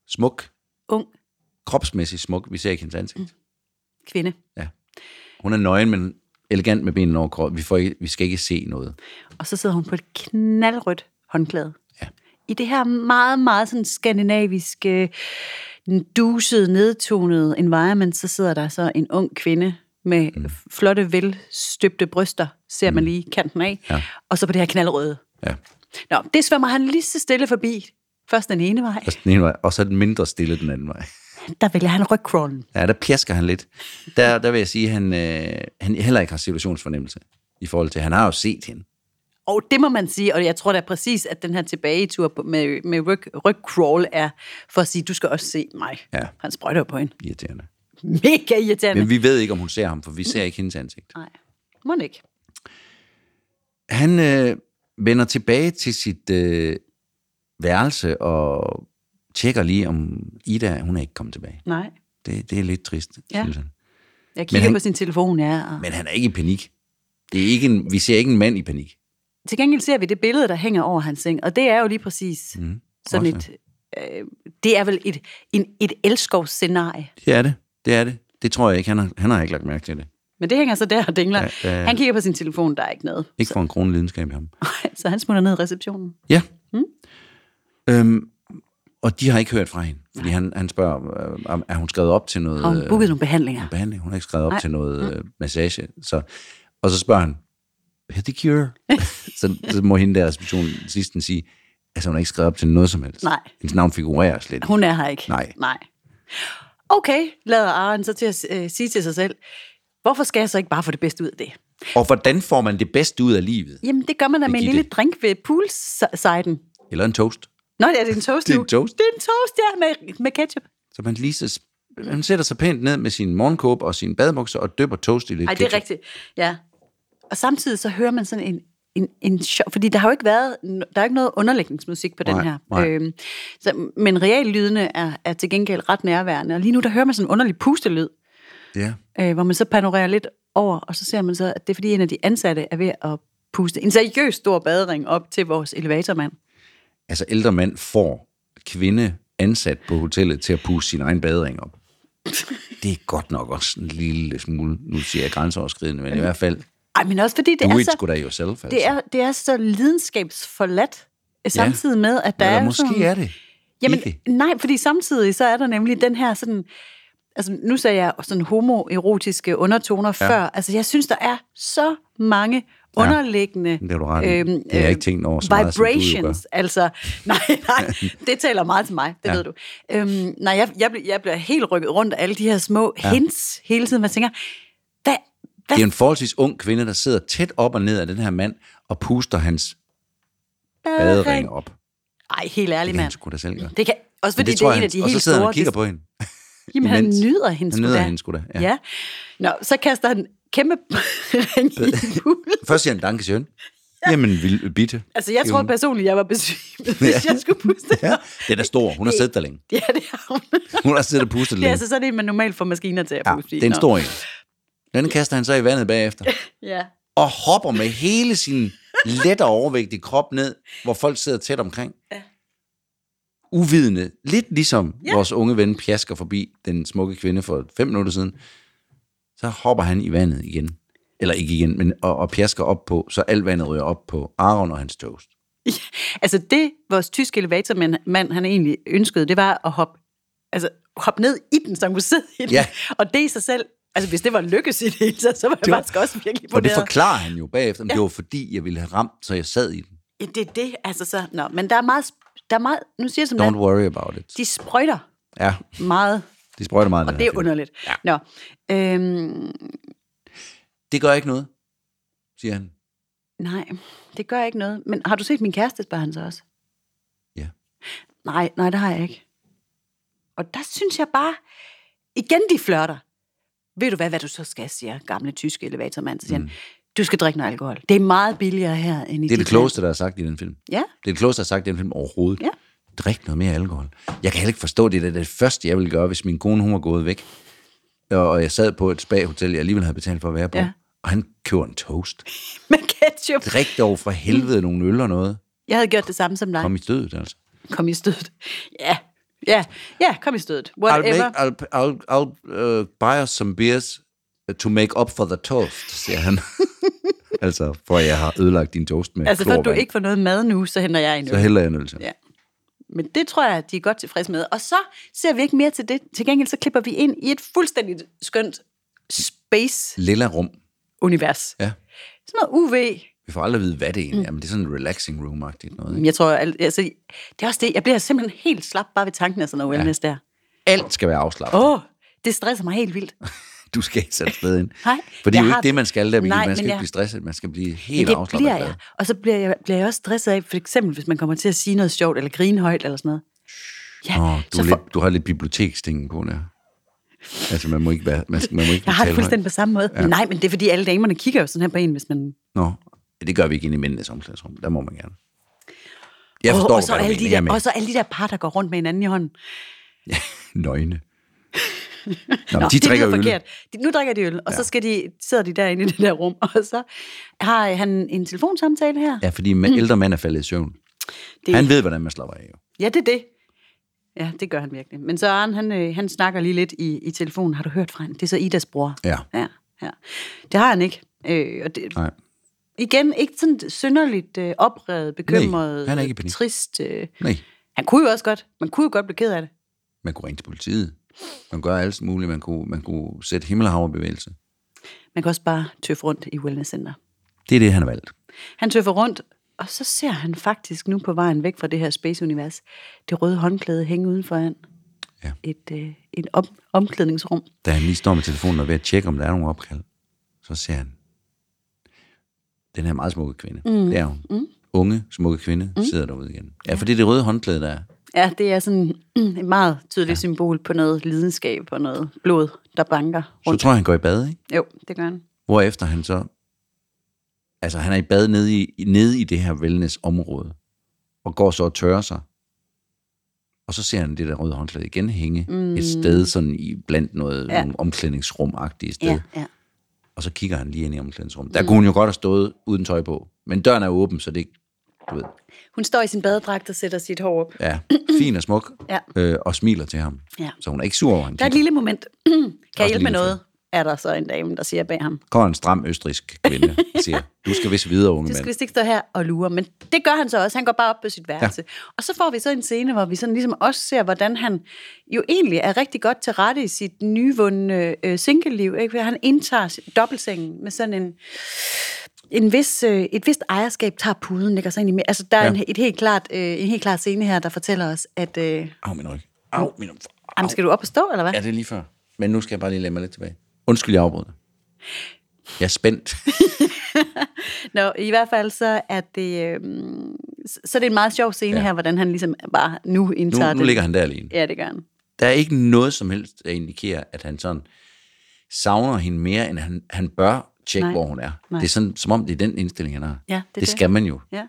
[SPEAKER 1] Smuk.
[SPEAKER 2] ung
[SPEAKER 1] Kropsmæssigt smuk. Vi ser ikke hendes ansigt.
[SPEAKER 2] kvinde.
[SPEAKER 1] Hun er nøgen, men elegant med benene over kroppen. Vi, får ikke, vi skal ikke se noget.
[SPEAKER 2] Og så sidder hun på et knaldrødt håndklæde.
[SPEAKER 1] Ja.
[SPEAKER 2] I det her meget, meget sådan skandinaviske, øh, dusede, nedtonede environment, så sidder der så en ung kvinde med mm. flotte, velstøbte bryster, ser mm. man lige kanten af.
[SPEAKER 1] Ja.
[SPEAKER 2] Og så på det her knaldrøde.
[SPEAKER 1] Ja.
[SPEAKER 2] Nå, det svømmer han lige så stille forbi. Først den ene vej,
[SPEAKER 1] Først den ene vej, og så den mindre stille den anden vej.
[SPEAKER 2] der vælger han rygcrawlen.
[SPEAKER 1] Ja, der pjasker han lidt. Der, der vil jeg sige, at han, øh, han heller ikke har situationsfornemmelse i forhold til, han har jo set hende.
[SPEAKER 2] Og det må man sige, og jeg tror da præcis, at den her tilbagetur på- med, med ryg, rygcrawl er for at sige, du skal også se mig.
[SPEAKER 1] Ja.
[SPEAKER 2] Han sprøjter jo på hende.
[SPEAKER 1] Irriterende.
[SPEAKER 2] Mega irriterende.
[SPEAKER 1] Men vi ved ikke, om hun ser ham, for vi ser ikke hendes ansigt.
[SPEAKER 2] Nej, må den ikke.
[SPEAKER 1] Han øh, vender tilbage til sit øh, værelse og tjekker lige, om Ida, hun er ikke kommet tilbage.
[SPEAKER 2] Nej.
[SPEAKER 1] Det, det er lidt trist, ja.
[SPEAKER 2] Ja.
[SPEAKER 1] synes han.
[SPEAKER 2] Jeg kigger
[SPEAKER 1] han-
[SPEAKER 2] han... på sin telefon, ja. Og...
[SPEAKER 1] Men han er ikke i panik. Det er ikke en, vi ser ikke en mand i panik.
[SPEAKER 2] Til gengæld ser vi det billede, der hænger over hans seng, og det er jo lige præcis mm. sådan
[SPEAKER 1] også.
[SPEAKER 2] et... Øh, det er vel et, en, et elskovsscenarie.
[SPEAKER 1] Det er det. Det er det. Det tror jeg ikke. Han har, han har ikke lagt mærke til det.
[SPEAKER 2] Men det hænger så der og dingler.
[SPEAKER 1] Ja, ja,
[SPEAKER 2] Ja,
[SPEAKER 1] ja.
[SPEAKER 2] ja. Han kigger på sin telefon, der er ikke noget.
[SPEAKER 1] Ikke for en krone lidenskab i ham.
[SPEAKER 2] Så han smutter ned i receptionen.
[SPEAKER 1] Ja. Mm. Øhm, og de har ikke hørt fra hende, fordi han, han spørger, øh, om- er hun skrevet op til noget
[SPEAKER 2] Og hun
[SPEAKER 1] øh,
[SPEAKER 2] bookede nogle behandlinger.
[SPEAKER 1] behandling? Hun har ikke skrevet op Nej.
[SPEAKER 2] Nej. Mm.
[SPEAKER 1] til noget øh, massage. Så, og så spørger han, pedicure? så, så må hende der reception sidsten sige, altså hun har ikke skrevet op til noget som helst.
[SPEAKER 2] Nej.
[SPEAKER 1] Hendes navn figurerer slet ikke.
[SPEAKER 2] Hun er her ikke.
[SPEAKER 1] Nej.
[SPEAKER 2] Nej. Okay, lader Aaron så til at øh, sige til sig selv, hvorfor skal jeg så ikke bare få det bedste ud af det?
[SPEAKER 1] Og hvordan får man det bedste ud af livet?
[SPEAKER 2] Jamen, det gør man da med en
[SPEAKER 1] Birgitte.
[SPEAKER 2] lille drink ved poolsiden.
[SPEAKER 1] Eller en toast.
[SPEAKER 2] Nå, ja, det er en toast
[SPEAKER 1] Det er
[SPEAKER 2] nu.
[SPEAKER 1] en toast.
[SPEAKER 2] Det er en toast, ja, med, med ketchup.
[SPEAKER 1] Så man lige så, han sætter sig pænt ned med sin morgenkåbe og sine badebukser og døber toast i lidt
[SPEAKER 2] Ej, det er
[SPEAKER 1] ketchup.
[SPEAKER 2] rigtigt, ja. Og samtidig så hører man sådan en, en, en sjov, fordi der har jo ikke været, der er ikke noget underlægningsmusik på den
[SPEAKER 1] Nej,
[SPEAKER 2] her.
[SPEAKER 1] nej.
[SPEAKER 2] Øhm, så, men reallydene er, er til gengæld ret nærværende, og lige nu der hører man sådan en underlig pustelyd,
[SPEAKER 1] Ja.
[SPEAKER 2] øh, hvor man så panorerer lidt over, og så ser man så, at det er fordi en af de ansatte er ved at puste en seriøs stor badering op til vores elevatormand.
[SPEAKER 1] Altså ældre mand får kvinde ansat på hotellet til at puste sin egen badering op. Det er godt nok også en lille smule, nu siger jeg grænseoverskridende, men i hvert fald,
[SPEAKER 2] Ej, men også fordi det
[SPEAKER 1] do
[SPEAKER 2] er
[SPEAKER 1] it
[SPEAKER 2] så...
[SPEAKER 1] skulle da yourself. Altså.
[SPEAKER 2] det er, det er så lidenskabsforladt, øh, samtidig med, at der
[SPEAKER 1] Eller
[SPEAKER 2] er... jo
[SPEAKER 1] måske
[SPEAKER 2] sådan,
[SPEAKER 1] er det.
[SPEAKER 2] Jamen,
[SPEAKER 1] ikke.
[SPEAKER 2] nej, fordi samtidig så er der nemlig den her sådan... Altså, nu sagde jeg sådan homoerotiske undertoner ja. før. Altså, jeg synes, der er så mange underliggende... øhm,
[SPEAKER 1] det har du ret i. Det har jeg ikke tænkt over så meget, som du jo
[SPEAKER 2] Vibrations, altså... Nej, nej, det taler meget til mig, det ja. ved du. Øhm, nej, jeg, jeg, bliver, jeg bliver helt rykket rundt af alle de her små ja. hints hele tiden. Man tænker, hvad, hvad
[SPEAKER 1] Det er en forholdsvis ung kvinde, der sidder tæt op og ned af den her mand, og puster hans badering op.
[SPEAKER 2] Ej, helt
[SPEAKER 1] Det
[SPEAKER 2] ærligt,
[SPEAKER 1] kan han
[SPEAKER 2] mand.
[SPEAKER 1] sgu da selv gøre.
[SPEAKER 2] Det kan, også
[SPEAKER 1] Men
[SPEAKER 2] fordi det, det er en
[SPEAKER 1] han-
[SPEAKER 2] af de
[SPEAKER 1] Og så
[SPEAKER 2] helt
[SPEAKER 1] sidder
[SPEAKER 2] store...
[SPEAKER 1] han og kigger på hende.
[SPEAKER 2] Jamen, han
[SPEAKER 1] imens.
[SPEAKER 2] nyder
[SPEAKER 1] Han
[SPEAKER 2] hende sgu
[SPEAKER 1] nyder
[SPEAKER 2] da.
[SPEAKER 1] hende sgu da.
[SPEAKER 2] Ja.
[SPEAKER 1] Ja.
[SPEAKER 2] ja. Nå, så kaster han kæmpe ring i poolen.
[SPEAKER 1] Først siger han, danke sjøn. Jamen, vil bitte.
[SPEAKER 2] Altså, jeg tror
[SPEAKER 1] Jo.
[SPEAKER 2] personligt, jeg var besvimet, hvis jeg skulle puste.
[SPEAKER 1] Ja, den er stor. Hun har siddet der længe.
[SPEAKER 2] Ja, det er hun.
[SPEAKER 1] Hun har siddet og pustet
[SPEAKER 2] Det er
[SPEAKER 1] længe.
[SPEAKER 2] altså sådan en, man normalt får maskiner til at
[SPEAKER 1] Ja,
[SPEAKER 2] puste i.
[SPEAKER 1] det er en
[SPEAKER 2] Nå.
[SPEAKER 1] stor en. Den kaster han så i vandet bagefter.
[SPEAKER 2] Ja.
[SPEAKER 1] Og hopper med hele sin let og overvægtige krop ned, hvor folk sidder tæt omkring.
[SPEAKER 2] Ja.
[SPEAKER 1] Uvidende. Lidt ligesom
[SPEAKER 2] Ja.
[SPEAKER 1] ja. vores unge ven pjasker forbi den smukke kvinde for fem minutter siden. Så hopper han i vandet igen. Eller ikke igen, men og, og pjasker op på, så alt vandet ryger op på Aaron og hans toast.
[SPEAKER 2] Altså, det vores tyske elevatormand, mand, han egentlig ønskede, det var at hoppe, altså, hoppe ned i den, så han kunne sidde i den.
[SPEAKER 1] Ja.
[SPEAKER 2] Og det i sig selv, altså, hvis det var lykkes i det hele taget, så var jeg
[SPEAKER 1] Det var-
[SPEAKER 2] faktisk også virkelig
[SPEAKER 1] Og det
[SPEAKER 2] imponeret.
[SPEAKER 1] forklarer han jo bagefter, men ja. det var fordi, jeg ville have ramt, så jeg sad i den.
[SPEAKER 2] Ja, det er det, altså så. Nå, men der er meget, der er meget nu siger jeg som det er,
[SPEAKER 1] Don't worry about it.
[SPEAKER 2] de sprøjter
[SPEAKER 1] Ja,
[SPEAKER 2] meget,
[SPEAKER 1] de sprøjter meget. i
[SPEAKER 2] og
[SPEAKER 1] den
[SPEAKER 2] det
[SPEAKER 1] her
[SPEAKER 2] er
[SPEAKER 1] film.
[SPEAKER 2] underligt. Ja. Nå, øhm,
[SPEAKER 1] Det gør ikke noget, siger han.
[SPEAKER 2] nej, det gør ikke noget. Men har du set min kæreste, spørger han så også?
[SPEAKER 1] Ja.
[SPEAKER 2] Nej, nej, det har jeg ikke. Og der synes jeg bare, igen de flørter. Ved du hvad, hvad du så skal, siger gamle tyske elevatormand. Så siger mm. han, du skal drikke noget alkohol. Det er meget billigere her end i
[SPEAKER 1] Det er
[SPEAKER 2] dit
[SPEAKER 1] det klogeste, der er sagt i den film.
[SPEAKER 2] land." Ja,
[SPEAKER 1] Det er det klogeste, der er sagt i den film overhovedet.
[SPEAKER 2] Ja.
[SPEAKER 1] Drik noget mere alkohol. Jeg kan heller ikke forstå det. Det er det første, jeg ville gøre, hvis min kone hun var gået væk. Og jeg sad på et spa-hotel, jeg alligevel havde betalt for at være på.
[SPEAKER 2] Ja.
[SPEAKER 1] Og han køber en toast.
[SPEAKER 2] med ketchup.
[SPEAKER 1] Drik dog for helvede nogle øl og noget.
[SPEAKER 2] Jeg havde gjort det samme som dig.
[SPEAKER 1] Kom i stødet, altså.
[SPEAKER 2] Kom i stødet. Ja, ja, ja, kom i stødet.
[SPEAKER 1] I'll,
[SPEAKER 2] Whatever.
[SPEAKER 1] make, I'll, I'll, I'll uh, buy us some beers to make up for the toast, siger han. altså, for jeg har ødelagt din toast med
[SPEAKER 2] Altså, for du
[SPEAKER 1] klorvand.
[SPEAKER 2] ikke får noget mad nu, så henter jeg en
[SPEAKER 1] Så
[SPEAKER 2] øl.
[SPEAKER 1] hælder jeg en øl til.
[SPEAKER 2] Ja. Men det tror jeg, de er godt tilfredse med. Og så ser vi ikke mere til det. Til gengæld så klipper vi ind i et fuldstændigt skønt space-univers.
[SPEAKER 1] Lilla rum. Ja.
[SPEAKER 2] Sådan noget UV.
[SPEAKER 1] Vi får aldrig at vide, hvad det
[SPEAKER 2] Mm.
[SPEAKER 1] egentlig er, men det er sådan en relaxing room-agtigt noget. Ikke?
[SPEAKER 2] Jeg tror, al- altså, det er også det. Jeg bliver simpelthen helt slap bare ved tanken af sådan noget wellness der.
[SPEAKER 1] Alt skal være afslappet.
[SPEAKER 2] Åh, oh, det stresser mig helt vildt.
[SPEAKER 1] Du skal ikke sætte sted ind.
[SPEAKER 2] Nej,
[SPEAKER 1] For det er
[SPEAKER 2] jeg
[SPEAKER 1] jo
[SPEAKER 2] har-
[SPEAKER 1] ikke det, man skal der.
[SPEAKER 2] Nej,
[SPEAKER 1] Nej, man
[SPEAKER 2] men
[SPEAKER 1] skal ikke
[SPEAKER 2] jeg-
[SPEAKER 1] blive stresset. Man skal blive
[SPEAKER 2] Men
[SPEAKER 1] helt
[SPEAKER 2] det
[SPEAKER 1] afslappet.
[SPEAKER 2] bliver
[SPEAKER 1] og glad.
[SPEAKER 2] jeg. Og så bliver jeg, bliver jeg også stresset af, for eksempel, hvis man kommer til at sige noget sjovt, eller grine højt, eller sådan noget. Ja,
[SPEAKER 1] Nå, du,
[SPEAKER 2] så
[SPEAKER 1] er
[SPEAKER 2] for,
[SPEAKER 1] lidt, du har lidt bibliotekstingen på der. Altså, man må ikke være... Man, skal- man må ikke
[SPEAKER 2] jeg har det
[SPEAKER 1] tale højt.
[SPEAKER 2] fuldstændig på samme måde. Ja. Nej, men det er fordi, alle damerne kigger jo sådan her på en, hvis man
[SPEAKER 1] Nå, ja, det gør vi ikke inde i mændenes omklædningsrum. Der må man gerne. Jeg
[SPEAKER 2] Og-
[SPEAKER 1] forstår,
[SPEAKER 2] og, så
[SPEAKER 1] hvad du
[SPEAKER 2] alle
[SPEAKER 1] mener.
[SPEAKER 2] de
[SPEAKER 1] Jeg er
[SPEAKER 2] der,
[SPEAKER 1] med.
[SPEAKER 2] og så alle de der par, der går rundt med hinanden i hånden.
[SPEAKER 1] Nøgne. Nå,
[SPEAKER 2] Nå,
[SPEAKER 1] men de
[SPEAKER 2] det
[SPEAKER 1] drikker
[SPEAKER 2] lyder
[SPEAKER 1] øl.
[SPEAKER 2] Forkert. De, nu drikker de øl, og ja. så skal de, sidder de derinde i det der rum, og så har øh, han en telefonsamtale her.
[SPEAKER 1] Ja, fordi man, ældre mand er faldet i søvn.
[SPEAKER 2] Mm. Det-
[SPEAKER 1] Det. Han ved, hvordan man slapper af. jo.
[SPEAKER 2] Ja, det er det. Ja, det gør han virkelig. Men så Arne, han, øh, han snakker lige lidt i, i telefonen. Har du hørt fra hende? Det er så Idas bror.
[SPEAKER 1] Ja,
[SPEAKER 2] Ja, ja. Det har han ikke. Øh, og det,
[SPEAKER 1] nej.
[SPEAKER 2] igen, ikke sådan synderligt øh, oprevet, bekymret,
[SPEAKER 1] han er ikke i panik.
[SPEAKER 2] trist. Øh.
[SPEAKER 1] Nej,
[SPEAKER 2] Han kunne jo også godt. Man kunne jo godt blive ked af det.
[SPEAKER 1] man kunne ringe til politiet. Man kunne gøre alt muligt. Man kunne, man kunne sætte himmel og hav i bevægelse.
[SPEAKER 2] Man kan også bare tøffe rundt i wellnesscenter.
[SPEAKER 1] Det er det, han har valgt.
[SPEAKER 2] Han tøffer rundt, og så ser han faktisk nu på vejen væk fra det her space-univers, det røde håndklæde hænge udenfor han.
[SPEAKER 1] Ja.
[SPEAKER 2] Et, øh, et om, omklædningsrum.
[SPEAKER 1] Da han lige står med telefonen og er ved at tjekke, om der er nogen opkald, så ser han den her meget smukke kvinde. Mm. Det er hun. Mm. Unge, smukke kvinde mm. sidder derude igen. Ja, for det er det røde håndklæde, der er.
[SPEAKER 2] Ja, det er sådan mm, et meget tydeligt ja. symbol på noget lidenskab og noget blod, der banker
[SPEAKER 1] Så
[SPEAKER 2] rundt.
[SPEAKER 1] tror jeg, han går i bad, ikke?
[SPEAKER 2] Jo, det gør han.
[SPEAKER 1] Hvorefter han så altså han er i bad nede i, nede i det her wellness-område, og går så og tørrer sig. Og så ser han det der røde håndklæde igen hænge mm. et sted, sådan i blandt noget
[SPEAKER 2] Ja.
[SPEAKER 1] ja. omklædningsrum-agtigt sted.
[SPEAKER 2] Ja,
[SPEAKER 1] Ja.
[SPEAKER 2] ja.
[SPEAKER 1] Og så kigger han lige ind i omklædningsrummet.
[SPEAKER 2] Mm.
[SPEAKER 1] Der kunne hun jo godt have stået uden tøj på, men døren er åben, så det ikke, du ved,
[SPEAKER 2] Hun står i sin badedragt og sætter sit hår op.
[SPEAKER 1] ja, fin og smuk,
[SPEAKER 2] Ja.
[SPEAKER 1] øh, og smiler til ham.
[SPEAKER 2] Ja.
[SPEAKER 1] Så hun er ikke sur over ham.
[SPEAKER 2] Der er et lille moment. kan jeg
[SPEAKER 1] en
[SPEAKER 2] hjælpe
[SPEAKER 1] lille
[SPEAKER 2] med noget? Er der så en dame, der siger bag ham.
[SPEAKER 1] kommer en stram østrisk kvinde og siger, du skal vist videre, unge
[SPEAKER 2] Du skal
[SPEAKER 1] mand.
[SPEAKER 2] vist ikke stå her og lure, men det gør han så også. Han går bare op på sit værelse. Ja. Og så får vi så en scene, hvor vi sådan ligesom også ser, hvordan han jo egentlig er rigtig godt til rette i sit nyvundne øh, singleliv. Ikke? For Han indtager sin- dobbeltsengen med sådan en, en vis, øh, et vist ejerskab, tager puden, lægger sig ind i mere. Altså, der er ja.
[SPEAKER 1] Ja.
[SPEAKER 2] en, et helt klart, øh, en helt klart scene her, der fortæller os, at øh,
[SPEAKER 1] Au, min ryg. Au, min ryg.
[SPEAKER 2] jamen, skal du op og stå, eller hvad?
[SPEAKER 1] Ja, det er lige før. Men nu skal jeg bare lige lade mig lidt tilbage. Undskyld, jeg afbryder. Jeg er spændt.
[SPEAKER 2] Nå, i hvert fald så er det, øh, så så er det en meget sjov scene ja.
[SPEAKER 1] Ja.
[SPEAKER 2] her, hvordan han ligesom bare nu
[SPEAKER 1] Nu,
[SPEAKER 2] indtager
[SPEAKER 1] nu
[SPEAKER 2] det.
[SPEAKER 1] ligger han der alene.
[SPEAKER 2] Ja, det gør han.
[SPEAKER 1] Der er ikke noget som helst, der indikerer, at han sådan savner hende mere, end han, han bør tjekke,
[SPEAKER 2] Nej.
[SPEAKER 1] hvor hun er.
[SPEAKER 2] Nej.
[SPEAKER 1] Det er sådan, som om det er den indstilling, han har.
[SPEAKER 2] Ja, det er
[SPEAKER 1] det
[SPEAKER 2] det.
[SPEAKER 1] skal man jo.
[SPEAKER 2] Ja.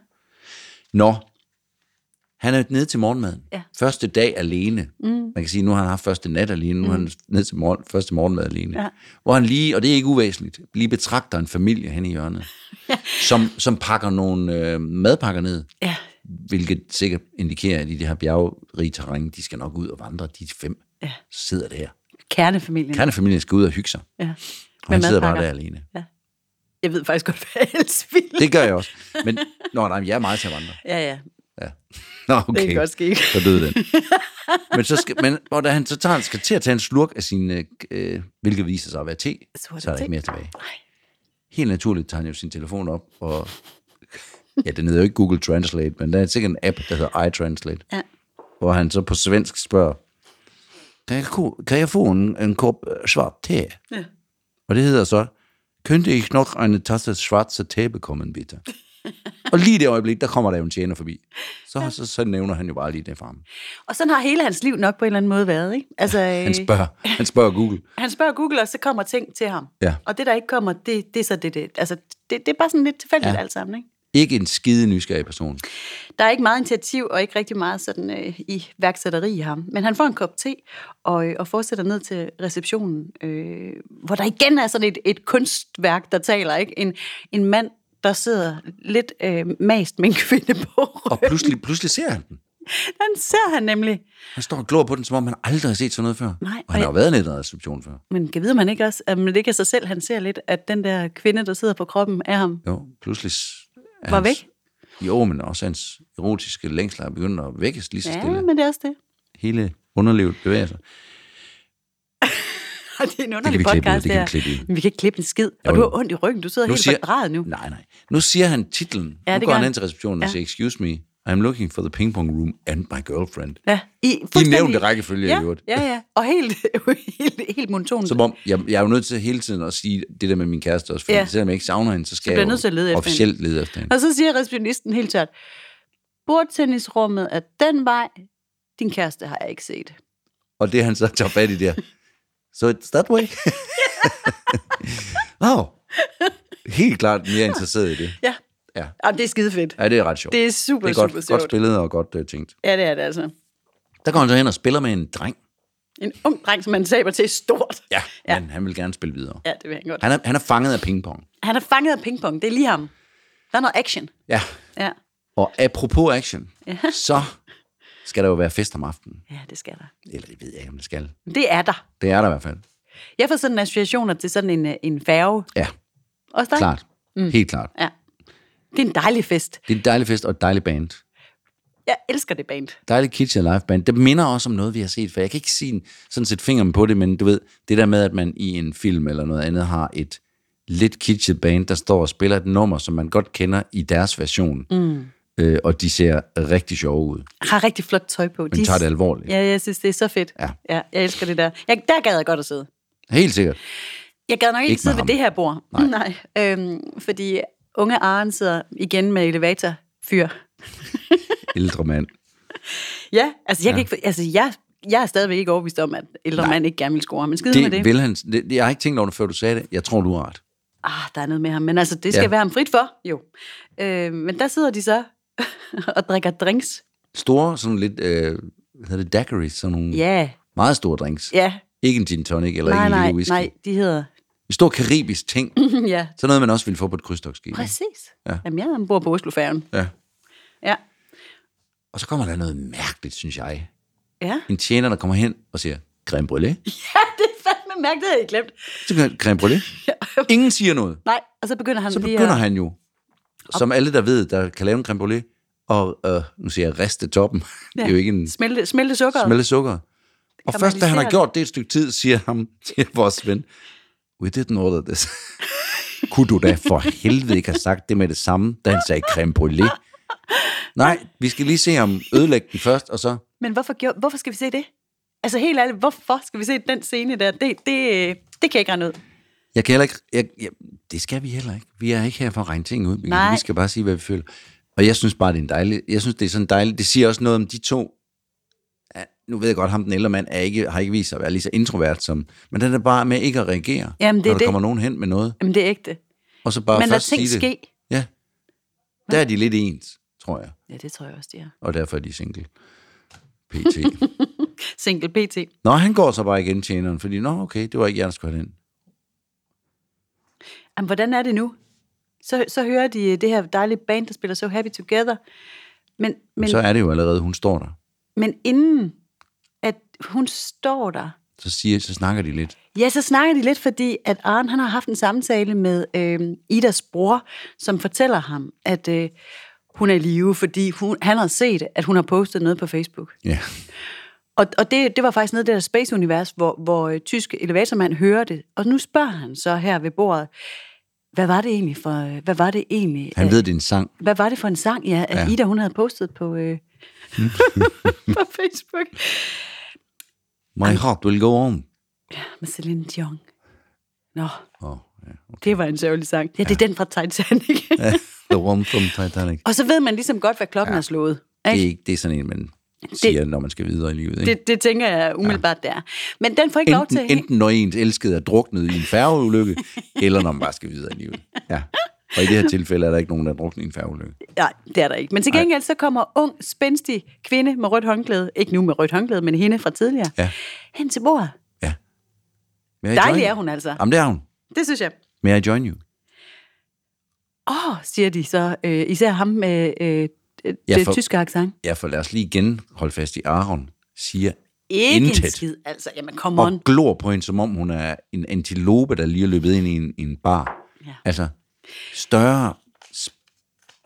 [SPEAKER 1] Nå, han er nede til morgenmaden.
[SPEAKER 2] Ja.
[SPEAKER 1] Første dag alene. Mm. Man kan sige, nu har han haft første nat alene, nu er han nede til morgen, første morgenmad alene.
[SPEAKER 2] Mm. Ja.
[SPEAKER 1] Hvor han lige, og det er ikke uvæsentligt, lige betragter en familie hen i hjørnet, som, som pakker nogle øh, madpakker ned,
[SPEAKER 2] Ja,
[SPEAKER 1] hvilket sikkert indikerer, at i det her bjergrige terræn, de skal nok ud og vandre, de er fem,
[SPEAKER 2] Ja.
[SPEAKER 1] så sidder det her.
[SPEAKER 2] kernefamilien.
[SPEAKER 1] Kernefamilien skal ud og hygge sig, og
[SPEAKER 2] Ja.
[SPEAKER 1] han sidder bare
[SPEAKER 2] madpakker.
[SPEAKER 1] der alene.
[SPEAKER 2] Jeg ved faktisk godt, hvad jeg ellers ville.
[SPEAKER 1] Det gør jeg også. Men, nå, nej, men jeg er meget til at vandre.
[SPEAKER 2] Ja, ja.
[SPEAKER 1] Ja. Nå, okay.
[SPEAKER 2] Det kan godt ske.
[SPEAKER 1] Så døde den. men så skal, men, og da han så tager, skal til at tage en slurk af sin, øh, øh, hvilket viser sig at være te,
[SPEAKER 2] Sorte
[SPEAKER 1] så er der
[SPEAKER 2] te.
[SPEAKER 1] ikke mere tilbage.
[SPEAKER 2] Nej.
[SPEAKER 1] Helt naturligt tager han jo sin telefon op, og ja, den hedder jo ikke Google Translate, men der er sikkert en app, der hedder iTranslate,
[SPEAKER 2] Ja.
[SPEAKER 1] hvor han så på svensk spørger, kan jeg, ko- kan jeg få en, en kop øh, svart te?
[SPEAKER 2] Ja.
[SPEAKER 1] Og det hedder så, könnte ich noch eine Tasse schwarze Tee bekommen, bitte? og lige i det øjeblik, der kommer der jo en tjener forbi. Så, så, så nævner han jo bare lige det for ham.
[SPEAKER 2] Og sådan har hele hans liv nok på en eller anden måde været, ikke? Altså,
[SPEAKER 1] Han
[SPEAKER 2] øh,
[SPEAKER 1] spørger, han spørger Google.
[SPEAKER 2] han spørger Google, og så kommer ting til ham.
[SPEAKER 1] Ja.
[SPEAKER 2] Og det, der ikke kommer, det, det er så det, det. Altså, det, det er bare sådan lidt tilfældigt ja. alt sammen, ikke?
[SPEAKER 1] Ikke en skide nysgerrig person.
[SPEAKER 2] Der er ikke meget initiativ, og ikke rigtig meget sådan øh, iværksætteri i ham. Men han får en kop te, og, øh, og fortsætter ned til receptionen, øh, hvor der igen er sådan et, et kunstværk, der taler, ikke? En, en mand, der sidder lidt øh, mast med en kvinde på
[SPEAKER 1] Og
[SPEAKER 2] ryggen.
[SPEAKER 1] pludselig, pludselig ser han den.
[SPEAKER 2] Den ser han nemlig.
[SPEAKER 1] Han står og glor på den, som om han aldrig har set sådan noget før.
[SPEAKER 2] Nej,
[SPEAKER 1] og han
[SPEAKER 2] og
[SPEAKER 1] har jo været nede i en reception før.
[SPEAKER 2] Men kan vide man ikke også, at man ikke af sig selv, han ser lidt, at den der kvinde, der sidder på kroppen af ham,
[SPEAKER 1] Jo, pludselig... s- er
[SPEAKER 2] var
[SPEAKER 1] hans-
[SPEAKER 2] væk?
[SPEAKER 1] Jo, men også hans erotiske længsler er begyndt at vækkes lige så
[SPEAKER 2] Ja,
[SPEAKER 1] stille.
[SPEAKER 2] men det er også det.
[SPEAKER 1] Hele underlivet bevæger sig.
[SPEAKER 2] Og det er en underlig
[SPEAKER 1] vi klippe ud,
[SPEAKER 2] podcast,
[SPEAKER 1] det kan vi
[SPEAKER 2] her.
[SPEAKER 1] klippe ud.
[SPEAKER 2] Men vi kan ikke klippe en skid. Og
[SPEAKER 1] Jo,
[SPEAKER 2] du
[SPEAKER 1] jo.
[SPEAKER 2] har ondt i ryggen, du sidder helt fordraget nu.
[SPEAKER 1] Nej, nej. Nu siger han titlen.
[SPEAKER 2] Ja,
[SPEAKER 1] Ja,
[SPEAKER 2] det
[SPEAKER 1] nu
[SPEAKER 2] gør
[SPEAKER 1] går han
[SPEAKER 2] han.
[SPEAKER 1] ind til receptionen ja.
[SPEAKER 2] Ja.
[SPEAKER 1] og siger, excuse me, I'm looking for the ping pong room and my girlfriend.
[SPEAKER 2] Ja, i,
[SPEAKER 1] I
[SPEAKER 2] fuldstændig-
[SPEAKER 1] nævnte rækkefølge, i
[SPEAKER 2] ja,
[SPEAKER 1] øvrigt.
[SPEAKER 2] ja, ja. Og helt, helt, helt monotont.
[SPEAKER 1] Som om, jeg, jeg er jo nødt til hele tiden at sige det der med min kæreste også, fordi
[SPEAKER 2] Ja.
[SPEAKER 1] ja. selvom jeg ikke savner hende, så skal
[SPEAKER 2] bliver
[SPEAKER 1] jeg jo
[SPEAKER 2] nødt til at lede efter hende.
[SPEAKER 1] officielt lede efter hende.
[SPEAKER 2] Og så siger receptionisten helt tørt, bordtennisrummet er den vej, din kæreste har jeg ikke set.
[SPEAKER 1] Og det han så tager fat i der, so it's that way. wow. Helt klart mere interesseret i det.
[SPEAKER 2] Ja,
[SPEAKER 1] Ja.
[SPEAKER 2] Jamen, det er skide fedt.
[SPEAKER 1] Ja, det er ret sjovt.
[SPEAKER 2] Det er super,
[SPEAKER 1] det er godt,
[SPEAKER 2] super sjovt.
[SPEAKER 1] godt spillet og godt uh, tænkt.
[SPEAKER 2] Ja, det er det altså.
[SPEAKER 1] Der går han så hen og spiller med en dreng.
[SPEAKER 2] En ung dreng, som han taber til stort.
[SPEAKER 1] Ja,
[SPEAKER 2] Ja.
[SPEAKER 1] ja. men han vil gerne spille videre.
[SPEAKER 2] Ja, det vil han godt.
[SPEAKER 1] Han er, han er fanget af pingpong.
[SPEAKER 2] Han er fanget af pingpong, det er lige ham. Der er noget action.
[SPEAKER 1] Ja,
[SPEAKER 2] Ja,
[SPEAKER 1] og apropos action, ja. så skal der jo være fest om aftenen.
[SPEAKER 2] ja det skal der.
[SPEAKER 1] Eller det ved jeg ikke, om det skal.
[SPEAKER 2] Det er der.
[SPEAKER 1] Det er der i hvert fald.
[SPEAKER 2] Jeg får sådan associationer til sådan en, øh, en færge.
[SPEAKER 1] Ja,
[SPEAKER 2] Også dig?
[SPEAKER 1] klart. Mm. Helt klart.
[SPEAKER 2] Ja. Det er en dejlig fest.
[SPEAKER 1] Det er en dejlig fest og et dejligt band.
[SPEAKER 2] Jeg elsker det band.
[SPEAKER 1] Dejligt Kitchen Live Band. Det minder også om noget, vi har set før. Jeg kan ikke sige, sådan sætte fingeren på det, men du ved, det der med, at man i en film eller noget andet har et lidt kitschet band, der står og spiller et nummer, som man godt kender i deres version. Mm. Øh, og de ser rigtig sjove ud.
[SPEAKER 2] Har rigtig flot tøj på.
[SPEAKER 1] Men tager det alvorligt.
[SPEAKER 2] Ja, jeg synes, det er så fedt.
[SPEAKER 1] Ja.
[SPEAKER 2] ja jeg elsker det der. Jeg, der gad jeg godt at sidde.
[SPEAKER 1] Helt sikkert.
[SPEAKER 2] Jeg gad nok ikke,
[SPEAKER 1] Ikke
[SPEAKER 2] ikke
[SPEAKER 1] med
[SPEAKER 2] sidde ved
[SPEAKER 1] ham.
[SPEAKER 2] det her bord. Nej. Nej øhm, fordi unge Aren sidder igen med elevatorfyr.
[SPEAKER 1] Ældre mand.
[SPEAKER 2] Ja, altså jeg, ja. Kan ikke, for- altså, jeg, jeg er stadigvæk ikke overbevist om, at ældre mand ikke gerne vil score. Men skide med
[SPEAKER 1] Det,
[SPEAKER 2] det.
[SPEAKER 1] vil han, det, jeg har ikke tænkt over det, før du sagde det. Jeg tror, du har ret.
[SPEAKER 2] ah, der er noget med ham, men altså, det skal
[SPEAKER 1] Ja.
[SPEAKER 2] ja. være ham frit for, jo. Øh, men der sidder de så og drikker drinks.
[SPEAKER 1] Store, sådan lidt, øh, hvad hedder det, daiquiris, sådan nogle
[SPEAKER 2] Ja,
[SPEAKER 1] meget store drinks.
[SPEAKER 2] ja.
[SPEAKER 1] Ikke en gin tonic eller ikke
[SPEAKER 2] Nej,
[SPEAKER 1] en
[SPEAKER 2] nej,
[SPEAKER 1] lille whisky.
[SPEAKER 2] nej, de hedder...
[SPEAKER 1] En stor karibisk ting.
[SPEAKER 2] ja,
[SPEAKER 1] Sådan noget, man også ville få på et krydstogsskib. ikke?
[SPEAKER 2] Mm. præcis.
[SPEAKER 1] Ja.
[SPEAKER 2] Ja. Jamen, jeg bor på Oslofærgen.
[SPEAKER 1] Ja.
[SPEAKER 2] Ja.
[SPEAKER 1] Og så kommer der noget mærkeligt, synes jeg.
[SPEAKER 2] Ja,
[SPEAKER 1] En tjener, der kommer hen og siger, creme brûlée.
[SPEAKER 2] det er fandme mærkeligt, det havde jeg glemt.
[SPEAKER 1] Så bliver det creme brûlée. Ingen siger noget.
[SPEAKER 2] Nej, og så begynder han
[SPEAKER 1] Så
[SPEAKER 2] lige
[SPEAKER 1] begynder
[SPEAKER 2] at...
[SPEAKER 1] han jo, som alle, der ved, der kan lave en creme brûlée, og øh, nu siger jeg, riste toppen. Det er jo ikke en
[SPEAKER 2] Smelte, smelte sukkeret.
[SPEAKER 1] smelte sukker. Og
[SPEAKER 2] Kan man
[SPEAKER 1] først, da
[SPEAKER 2] lige
[SPEAKER 1] han
[SPEAKER 2] se
[SPEAKER 1] har
[SPEAKER 2] det?
[SPEAKER 1] gjort det et stykke tid, siger ham til vores ven, we didn't order this. Kunne du da for helvede ikke have sagt det med det samme, da han sagde creme brûlée? Nej, vi skal lige se ham ødelægge den først, og så...
[SPEAKER 2] Men hvorfor, gjorde, hvorfor skal vi se det? Altså helt ærligt, hvorfor skal vi se den scene der? Det, det, øh, det kan jeg ikke regne ud.
[SPEAKER 1] Jeg kan heller ikke... Jeg, jeg, det skal vi heller ikke. Vi er ikke her for at regne ting ud. Birgitte.
[SPEAKER 2] Nej.
[SPEAKER 1] Vi skal bare sige, hvad vi føler. Og jeg synes bare, det er en dejlig... Jeg synes, det er sådan dejligt... Det siger også noget om de to... Ja, nu ved jeg godt, ham den ældre mand er ikke, har ikke vist sig at være lige så introvert som... Men den er bare med ikke at reagere,
[SPEAKER 2] Jamen, det er
[SPEAKER 1] når der
[SPEAKER 2] det.
[SPEAKER 1] kommer nogen hen med noget.
[SPEAKER 2] Jamen det er ægte.
[SPEAKER 1] Og så bare
[SPEAKER 2] Men lad
[SPEAKER 1] først
[SPEAKER 2] ting
[SPEAKER 1] sige det.
[SPEAKER 2] ske.
[SPEAKER 1] Ja. Der er de lidt ens, tror jeg.
[SPEAKER 2] Ja, det tror jeg også, de er.
[SPEAKER 1] Og derfor er de single. PT.
[SPEAKER 2] Single PT.
[SPEAKER 1] Nå, han går så bare igen, tjeneren, fordi, nå, okay, det var ikke jer, der skulle have den.
[SPEAKER 2] Jamen, hvordan er det nu? Så, så hører de øh, det her dejlige band, der spiller So Happy Together. Men,
[SPEAKER 1] Men...
[SPEAKER 2] men,
[SPEAKER 1] Så er det jo allerede, hun står der.
[SPEAKER 2] men inden at hun står der,
[SPEAKER 1] Så, siger, så snakker de lidt.
[SPEAKER 2] Ja, så snakker de lidt, fordi at Arne han har haft en samtale med øh, Idas bror, som fortæller ham, at øh, hun er i live, fordi hun, han har set, at hun har postet noget på Facebook.
[SPEAKER 1] Ja.
[SPEAKER 2] Og, og det, det var faktisk noget af det der space-univers, hvor, hvor øh, tysk elevatormand hører det. Og nu spørger han så her ved bordet, hvad var det egentlig for, øh, hvad var det egentlig,
[SPEAKER 1] Han
[SPEAKER 2] at-
[SPEAKER 1] ved, det er en sang.
[SPEAKER 2] hvad var det for en sang, ja, at
[SPEAKER 1] Ja.
[SPEAKER 2] ja. Ida hun havde postet på, øh, på Facebook?
[SPEAKER 1] My heart will go on.
[SPEAKER 2] Med Celine Dion. Nå,
[SPEAKER 1] Oh, ja. okay.
[SPEAKER 2] Det var en sørgelig sang. Ja, det er den fra Titanic. Ja.
[SPEAKER 1] The one from Titanic.
[SPEAKER 2] og så ved man ligesom godt, hvad klokken ja. er slået.
[SPEAKER 1] Det er,
[SPEAKER 2] Ikke?
[SPEAKER 1] ikke, det er sådan en, man siger, når man skal videre i livet. Ikke?
[SPEAKER 2] Det, det tænker jeg umiddelbart, det er. Men den får ikke lov til...
[SPEAKER 1] enten, enten når ens elskede er druknet i en færgeulykke, eller når man bare skal videre i livet. Ja. Og i det her tilfælde er der ikke nogen, der er druknet i en færgeulykke.
[SPEAKER 2] Nej, det er der ikke. Men til gengæld så kommer ung, spændstig kvinde med rødt håndklæde. Ikke nu med rødt håndklæde, men hende fra tidligere.
[SPEAKER 1] Ja.
[SPEAKER 2] Hen til bordet.
[SPEAKER 1] May I
[SPEAKER 2] Dejlig
[SPEAKER 1] join
[SPEAKER 2] er
[SPEAKER 1] you?
[SPEAKER 2] hun altså.
[SPEAKER 1] Jamen, det er hun.
[SPEAKER 2] Det synes jeg.
[SPEAKER 1] May I join you?
[SPEAKER 2] Åh, oh, siger de så. Øh, især ham med øh, det
[SPEAKER 1] Ja, for-
[SPEAKER 2] tyske accent.
[SPEAKER 1] Ja, for lad os lige igen holde fast i Aaron, siger
[SPEAKER 2] Ikke en
[SPEAKER 1] Intet.
[SPEAKER 2] skid, altså. Jamen, come on.
[SPEAKER 1] og glor på hende, som om hun er en antilope, der lige er løbet ind i en, en bar.
[SPEAKER 2] Ja.
[SPEAKER 1] Altså, større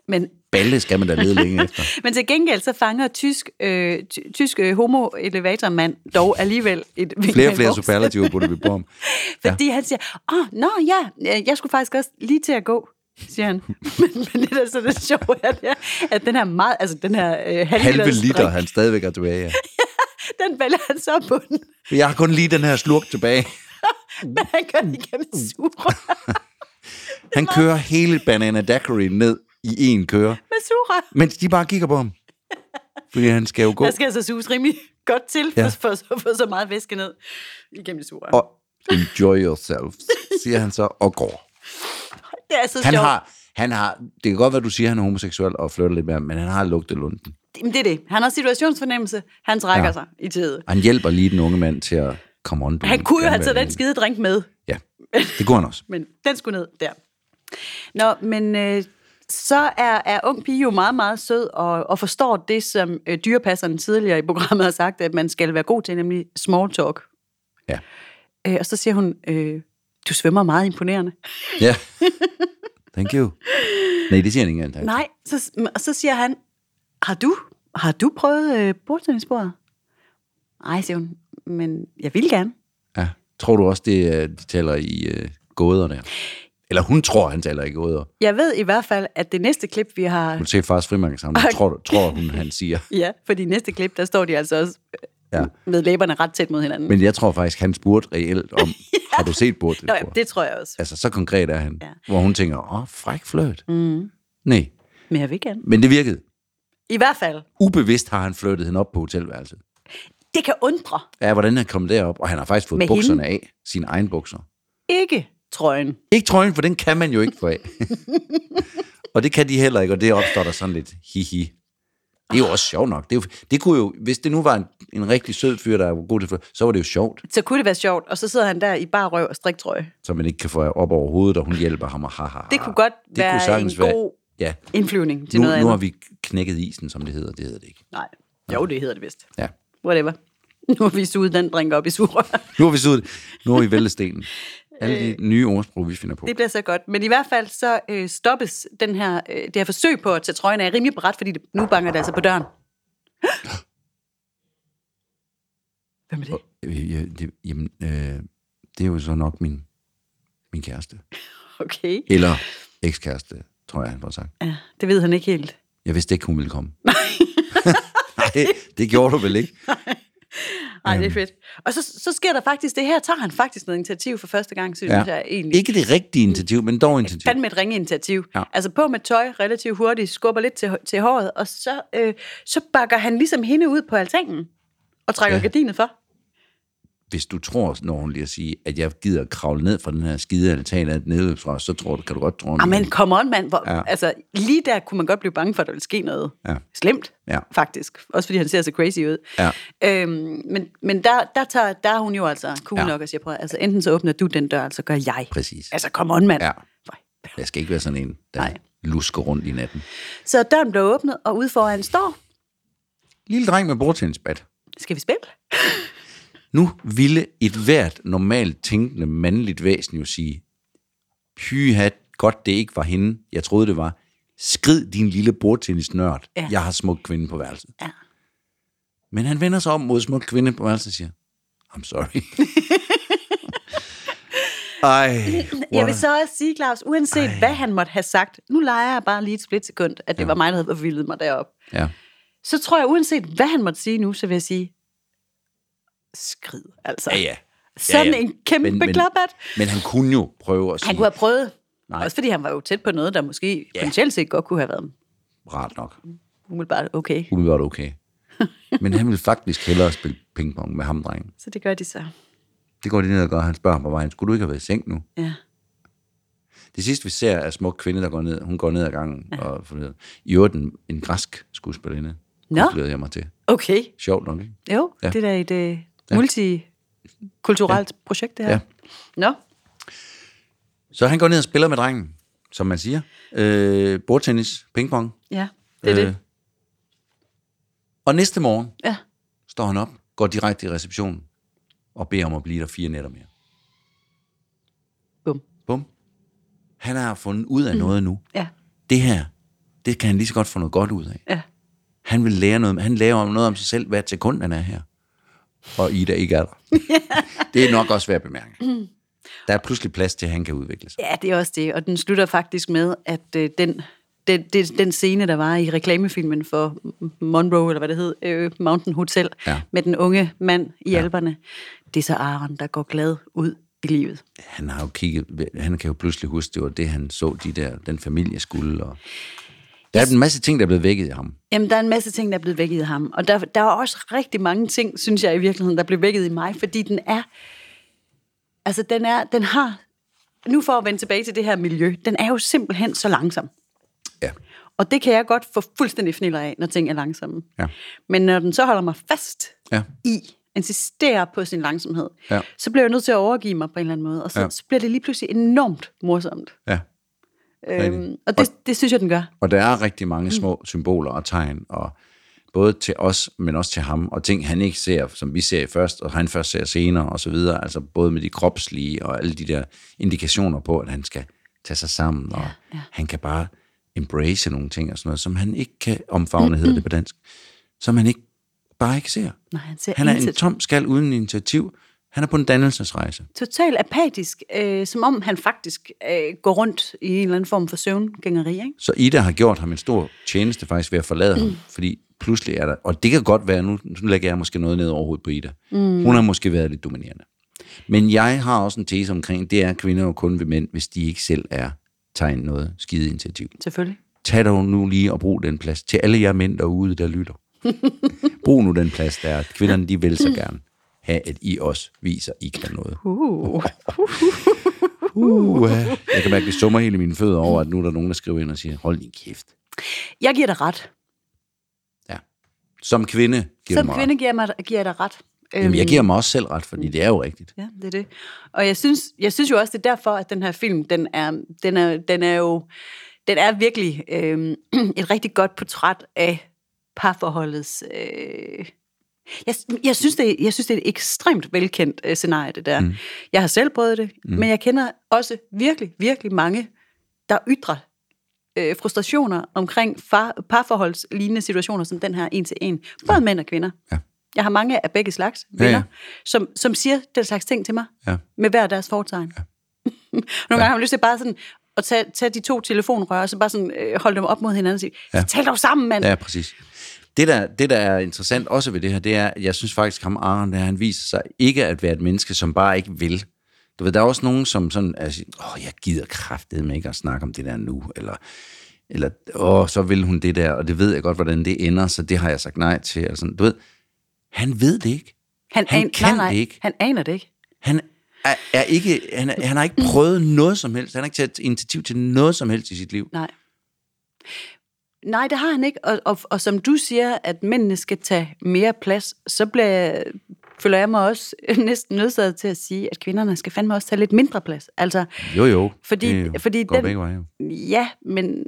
[SPEAKER 2] Men
[SPEAKER 1] balle skal man da lede længe efter.
[SPEAKER 2] Men til gengæld så fanger tysk, øh, ty, tysk øh, homo-elevatormand dog alligevel et vink
[SPEAKER 1] Flere
[SPEAKER 2] med
[SPEAKER 1] og
[SPEAKER 2] en
[SPEAKER 1] flere
[SPEAKER 2] vors,
[SPEAKER 1] superlativer burde vi bruge om.
[SPEAKER 2] Fordi han siger, åh, oh, nå ja, øh, jeg skulle faktisk også lige til at gå, siger han. men, men det der så det sjove er, det er, at den her meget, altså den her øh,
[SPEAKER 1] Halve liter,
[SPEAKER 2] halvlitersdrik,
[SPEAKER 1] han stadigvæk er tilbage. Ja.
[SPEAKER 2] den vælger han så på den,
[SPEAKER 1] Jeg har kun lige den her slurk tilbage.
[SPEAKER 2] men han gør det
[SPEAKER 1] Uh.
[SPEAKER 2] igennem sura.
[SPEAKER 1] Han kører hele Banana Daiquiri ned i en køre,
[SPEAKER 2] Med sura.
[SPEAKER 1] mens de bare kigger på ham. Fordi han skal jo gå.
[SPEAKER 2] Der skal altså suges rimelig godt til for,
[SPEAKER 1] Ja.
[SPEAKER 2] ja. for, for, for så meget væske ned igennem sura.
[SPEAKER 1] Og enjoy yourself, siger han så, og går.
[SPEAKER 2] det er så
[SPEAKER 1] Han
[SPEAKER 2] sjovt.
[SPEAKER 1] har, han har, det kan godt være, du siger, at han er homoseksuel og flytter lidt mere, men han har lugtet lunden.
[SPEAKER 2] Jamen, det er det. Han har situationsfornemmelse. Han trækker
[SPEAKER 1] Ja.
[SPEAKER 2] ja. sig i tide.
[SPEAKER 1] Og han hjælper lige den unge mand til at komme on. du
[SPEAKER 2] Han
[SPEAKER 1] må
[SPEAKER 2] kunne jo
[SPEAKER 1] gerne
[SPEAKER 2] have taget
[SPEAKER 1] være
[SPEAKER 2] den skide drink med,
[SPEAKER 1] Ja, det kunne han også.
[SPEAKER 2] men den skulle ned der. Nå, men øh, så er, er ung pige jo meget, meget sød og, og forstår det, som øh, dyrepasseren tidligere i programmet har sagt, at man skal være god til, nemlig small talk.
[SPEAKER 1] Ja.
[SPEAKER 2] Øh, og så siger hun, øh, du svømmer meget imponerende.
[SPEAKER 1] Ja. Thank you. Nej, det siger han ikke engang.
[SPEAKER 2] Nej, så, og så siger han, har du, har du prøvet øh, bordtennisbordet? Nej, siger hun, men jeg vil gerne.
[SPEAKER 1] Ja. Tror du også, det, er- de taler i øh, gåder der? Eller hun tror, han taler i gåder.
[SPEAKER 2] Jeg ved i hvert fald, at det næste klip, vi har
[SPEAKER 1] Hun ser fars frimandssamling. Tror, du- tror hun, han siger.
[SPEAKER 2] Ja, for de næste klip, der står de altså også
[SPEAKER 1] Ja.
[SPEAKER 2] ja. med læberne ret tæt mod hinanden. Men,
[SPEAKER 1] Men jeg tror faktisk, han spurgte reelt om, har du set bort det?
[SPEAKER 2] Nå, ja, det tror jeg også.
[SPEAKER 1] Altså, så konkret er han. Ja.
[SPEAKER 2] Ja.
[SPEAKER 1] Hvor hun tænker, åh, fræk fløjt. Mm. Nej,
[SPEAKER 2] Men jeg vil gerne.
[SPEAKER 1] men det virkede.
[SPEAKER 2] I hvert fald,
[SPEAKER 1] Ubevidst har han flyttet hende op på hotelværelset.
[SPEAKER 2] det kan undre
[SPEAKER 1] Ja, hvordan han kom derop, og han har faktisk fået
[SPEAKER 2] Med
[SPEAKER 1] bukserne af, sine egne bukser.
[SPEAKER 2] ikke, trøjen.
[SPEAKER 1] Ikke trøjen, for den kan man jo ikke få af. og det kan de heller ikke, og det opstår der sådan lidt hihi. Det er jo også sjovt nok. Det, er jo, det kunne jo, hvis det nu var en, en rigtig sød fyr, der var god til at så var det jo sjovt,
[SPEAKER 2] Så kunne det være sjovt, og så sidder han der i bare røv og striktrøje.
[SPEAKER 1] så man ikke kan få op over hovedet, og hun hjælper ham, og haha.
[SPEAKER 2] Ah, Det kunne godt være
[SPEAKER 1] sagtens
[SPEAKER 2] en god
[SPEAKER 1] Ja,
[SPEAKER 2] indflyvning til
[SPEAKER 1] nu,
[SPEAKER 2] noget
[SPEAKER 1] nu har
[SPEAKER 2] andet.
[SPEAKER 1] vi knækket isen, som det hedder. Det hedder det ikke.
[SPEAKER 2] Nej, jo, det hedder det vist.
[SPEAKER 1] Ja.
[SPEAKER 2] Whatever. Nu har vi suget den drink op i surrør.
[SPEAKER 1] Nu har vi siddet, nu har vi væltet stenen. Alle de nye ordsprog, vi finder på.
[SPEAKER 2] Det bliver så godt. Men i hvert fald så øh, stoppes den her, øh, det her forsøg på at tage trøjen af rimelig bræt, fordi det, nu banker det altså på døren. Hvem er det?
[SPEAKER 1] Øh, ja, det jamen, øh, det er jo så nok min, min kæreste.
[SPEAKER 2] Okay.
[SPEAKER 1] Eller ekskæreste, tror jeg, han var sagt.
[SPEAKER 2] Ja, det ved han ikke helt.
[SPEAKER 1] Jeg vidste ikke, hun ville komme. Nej. Nej, det gjorde du vel ikke?
[SPEAKER 2] Nej,
[SPEAKER 1] Øhm.
[SPEAKER 2] det er fedt. Og så, så sker der faktisk det her, tager han faktisk noget initiativ for første gang, synes ja. jeg egentlig.
[SPEAKER 1] Ikke det rigtige initiativ, men dog initiativ.
[SPEAKER 2] fandme et ringeinitiativ.
[SPEAKER 1] Ja.
[SPEAKER 2] Ja. Altså på med tøj relativt hurtigt, skubber lidt til, til håret, og så, øh, så bakker han ligesom hende ud på altangen og trækker
[SPEAKER 1] Ja.
[SPEAKER 2] ja. gardinet for.
[SPEAKER 1] Hvis du tror, når hun lige at sige, at jeg gider at kravle ned fra den her skide altan af et nedløbsrør, så tror du, kan du godt tro, at
[SPEAKER 2] Amen, come on, mand. Hvor,
[SPEAKER 1] Ja.
[SPEAKER 2] ja. altså, lige der kunne man godt blive bange for, at der ville ske noget
[SPEAKER 1] Ja.
[SPEAKER 2] slemt,
[SPEAKER 1] Ja.
[SPEAKER 2] faktisk. Også fordi han ser så crazy ud.
[SPEAKER 1] Ja.
[SPEAKER 2] Øhm, men men der, der, tager, der er hun jo altså cool
[SPEAKER 1] Ja.
[SPEAKER 2] ja. nok og siger, prøv, at- altså, enten så åbner du den dør, eller så gør jeg.
[SPEAKER 1] Præcis.
[SPEAKER 2] Altså, come on, mand.
[SPEAKER 1] Ja.
[SPEAKER 2] For
[SPEAKER 1] Jeg skal ikke være sådan en, der
[SPEAKER 2] Nej.
[SPEAKER 1] lusker rundt i natten.
[SPEAKER 2] Så døren blev åbnet, og ude foran står,
[SPEAKER 1] Lille dreng med bordtennisbat.
[SPEAKER 2] skal vi spille?
[SPEAKER 1] Nu ville et hvert normalt tænkende mandligt væsen jo sige, pyha, godt det ikke var hende, jeg troede det var. Skrid din lille bordtennisnørd, ja.
[SPEAKER 2] Ja.
[SPEAKER 1] jeg har smuk kvinde på værelset.
[SPEAKER 2] Ja.
[SPEAKER 1] Men han vender sig om mod smuk kvinde på værelset og siger, I'm sorry. Ej,
[SPEAKER 2] Jeg vil
[SPEAKER 1] what a-
[SPEAKER 2] så også sige, Claus, uanset Ej. hvad han måtte have sagt, nu leger jeg bare lige et splitsekund, at det ja. var mig, der havde forvildet mig derop.
[SPEAKER 1] ja.
[SPEAKER 2] Så tror jeg, uanset hvad han måtte sige nu, så vil jeg sige, skrid altså.
[SPEAKER 1] ja, ja.
[SPEAKER 2] Sådan
[SPEAKER 1] ja.
[SPEAKER 2] en kæmpe
[SPEAKER 1] Men- men-
[SPEAKER 2] klaphat.
[SPEAKER 1] Men han kunne jo prøve at sige,
[SPEAKER 2] Han kunne have prøvet.
[SPEAKER 1] Nej.
[SPEAKER 2] Nej. Også fordi han var jo tæt på noget, der måske
[SPEAKER 1] Ja.
[SPEAKER 2] ja. potentielt set godt kunne have været
[SPEAKER 1] rart nok.
[SPEAKER 2] umiddelbart okay.
[SPEAKER 1] umiddelbart okay. Men han ville faktisk hellere spille pingpong med ham, drengen.
[SPEAKER 2] Så det gør de så.
[SPEAKER 1] Det går lige ned og gør. Han spørger ham på vejen, skulle du ikke have været i seng nu?
[SPEAKER 2] Ja.
[SPEAKER 1] Det sidste, vi ser, er smuk kvinde, der går ned. Hun går ned ad gangen. Ja. Og får ned. I øvrigt en, en græsk skuespillerinde.
[SPEAKER 2] Nå.
[SPEAKER 1] konkluderede jeg mig til.
[SPEAKER 2] Okay.
[SPEAKER 1] Sjovt nok, ikke?
[SPEAKER 2] Jo,
[SPEAKER 1] Ja.
[SPEAKER 2] ja. det er da et uh, multikulturelt ja. projekt, det her.
[SPEAKER 1] Ja.
[SPEAKER 2] Ja. Nå,
[SPEAKER 1] Så han går ned og spiller med drengen, som man siger. Øh, bordtennis, pingpong.
[SPEAKER 2] ja, det er øh. det.
[SPEAKER 1] Og næste morgen
[SPEAKER 2] Ja.
[SPEAKER 1] står han op, går direkte i receptionen og beder om at blive der fire nætter mere.
[SPEAKER 2] Bum.
[SPEAKER 1] Bum. Han har fundet ud af mm. noget nu.
[SPEAKER 2] Ja,
[SPEAKER 1] det her, det kan han lige så godt få noget godt ud af.
[SPEAKER 2] ja.
[SPEAKER 1] Han vil lære noget, han lærer om noget om sig selv, hvad til kunden han er her. Og Ida ikke er der. det er nok også værd at bemærke. Der er pludselig plads til, at han kan udvikle sig.
[SPEAKER 2] Ja, det er også det. Og den slutter faktisk med, at øh, den, den, den, den scene, der var i reklamefilmen for Monroe, eller hvad det hed, øh, Mountain Hotel,
[SPEAKER 1] Ja.
[SPEAKER 2] ja. med den unge mand i ja. alberne, det er så Aaron, der går glad ud i livet.
[SPEAKER 1] Han har jo kigget, han kan jo pludselig huske, det var det, han så, de der, den familie skulle. Og... Der er en masse ting, der er blevet vækket i ham.
[SPEAKER 2] Jamen, der er en masse ting, der er blevet vækket i ham. Og der, der er også rigtig mange ting, synes jeg i virkeligheden, der blev vækket i mig, fordi den er... Altså, den, er, den har... Nu for at vende tilbage til det her miljø, den er jo simpelthen så langsom.
[SPEAKER 1] Ja.
[SPEAKER 2] Og det kan jeg godt få fuldstændig fniller af, når ting er langsomme.
[SPEAKER 1] Ja.
[SPEAKER 2] Men når den så holder mig fast
[SPEAKER 1] Ja.
[SPEAKER 2] i, insisterer på sin langsomhed,
[SPEAKER 1] Ja.
[SPEAKER 2] så bliver jeg nødt til at overgive mig på en eller anden måde, og så,
[SPEAKER 1] Ja.
[SPEAKER 2] ja. så bliver det lige pludselig enormt morsomt.
[SPEAKER 1] ja.
[SPEAKER 2] Øhm, og det, det synes jeg, den gør.
[SPEAKER 1] Og der er rigtig mange små symboler og tegn, og både til os, men også til ham, og ting, han ikke ser, som vi ser først, og han først ser senere, og så videre. Altså både med de kropslige og alle de der indikationer på, at han skal tage sig sammen, og ja, ja. han kan bare embrace nogle ting og sådan noget, som han ikke kan omfavne, hedder det på dansk, som han ikke bare ikke ser.
[SPEAKER 2] Nej, han ser
[SPEAKER 1] Han er en
[SPEAKER 2] intet.
[SPEAKER 1] tom skal uden initiativ. Han er på en dannelsesrejse.
[SPEAKER 2] Totalt apatisk, øh, som om han faktisk øh, går rundt i en eller anden form for søvngængeri, ikke?
[SPEAKER 1] Mm. Så Ida har gjort ham en stor tjeneste faktisk ved at forlade ham, fordi pludselig er der, og det kan godt være, nu, nu lægger jeg måske noget ned over hovedet på Ida. Mm. Hun har måske været lidt dominerende. Men jeg har også en tese omkring, det er at kvinder jo kun ved mænd, hvis de ikke selv er tegn noget skide initiativ.
[SPEAKER 2] Selvfølgelig.
[SPEAKER 1] Tag dog nu lige og brug den plads
[SPEAKER 2] Mm.
[SPEAKER 1] til alle jer mænd derude, der lytter. brug nu den plads der. er. Kvinderne, de vil så gerne. have, at I også viser, I kan noget.
[SPEAKER 2] Uh.
[SPEAKER 1] Uh, jeg kan mærke, at det summer hele mine fødder over, at nu er der nogen, der skriver ind og siger, hold din kæft.
[SPEAKER 2] Jeg giver dig ret.
[SPEAKER 1] Ja. Som kvinde giver du
[SPEAKER 2] Som
[SPEAKER 1] mig
[SPEAKER 2] kvinde giver, mig, giver jeg dig ret. Øhm,
[SPEAKER 1] ret. Jamen, jeg giver mig også selv ret, fordi det er jo rigtigt.
[SPEAKER 2] Ja, det er det. Og jeg synes, jeg synes jo også, det er derfor, at den her film, den er, den er, den er jo den er virkelig øh, et rigtig godt portræt af parforholdets... Øh, jeg, jeg, synes, det, er- jeg synes, det er et ekstremt velkendt øh, scenarie, det der. Mm. Jeg har selv prøvet det, mm. men jeg kender også virkelig, virkelig mange, der ytrer øh, frustrationer omkring far, parforholdslignende situationer som den her en til en. Både mænd og kvinder.
[SPEAKER 1] Ja.
[SPEAKER 2] Jeg har mange af begge slags venner, ja,
[SPEAKER 1] ja.
[SPEAKER 2] ja. Som, som siger den slags ting til mig,
[SPEAKER 1] Ja.
[SPEAKER 2] med hver deres foretegn. Ja. Nogle gange har man lyst til bare sådan at tage, tage de to telefonrør, og så bare sådan, øh, holde dem op mod hinanden og sige, ja. tal dog sammen, mand!
[SPEAKER 1] Ja, præcis. Det der, det, der er interessant også ved det her, det er, at jeg synes faktisk, at ham Aron, der, han viser sig ikke at være et menneske, som bare ikke vil. Du ved, der er også nogen, som sådan er sådan, åh, jeg gider kraftedeme ikke at snakke om det der nu, eller, eller åh, så vil hun det der, og det ved jeg godt, hvordan det ender, så det har jeg sagt nej til. Og sådan. Du ved, han ved det ikke. han
[SPEAKER 2] an-
[SPEAKER 1] kan det ikke.
[SPEAKER 2] Han aner det ikke.
[SPEAKER 1] Han er, er ikke, han, er, han har ikke prøvet noget som helst. Han har ikke taget initiativ til noget som helst i sit liv.
[SPEAKER 2] Nej. Nej, det har han ikke. Og, og, og som du siger, at mændene skal tage mere plads, så bliver, føler jeg mig også næsten nødsaget til at sige, at kvinderne skal fandme også tage lidt mindre plads. Altså,
[SPEAKER 1] Jo, jo.
[SPEAKER 2] Fordi-
[SPEAKER 1] det er jo-
[SPEAKER 2] fordi
[SPEAKER 1] går
[SPEAKER 2] den-
[SPEAKER 1] begge veje, jo.
[SPEAKER 2] Ja, men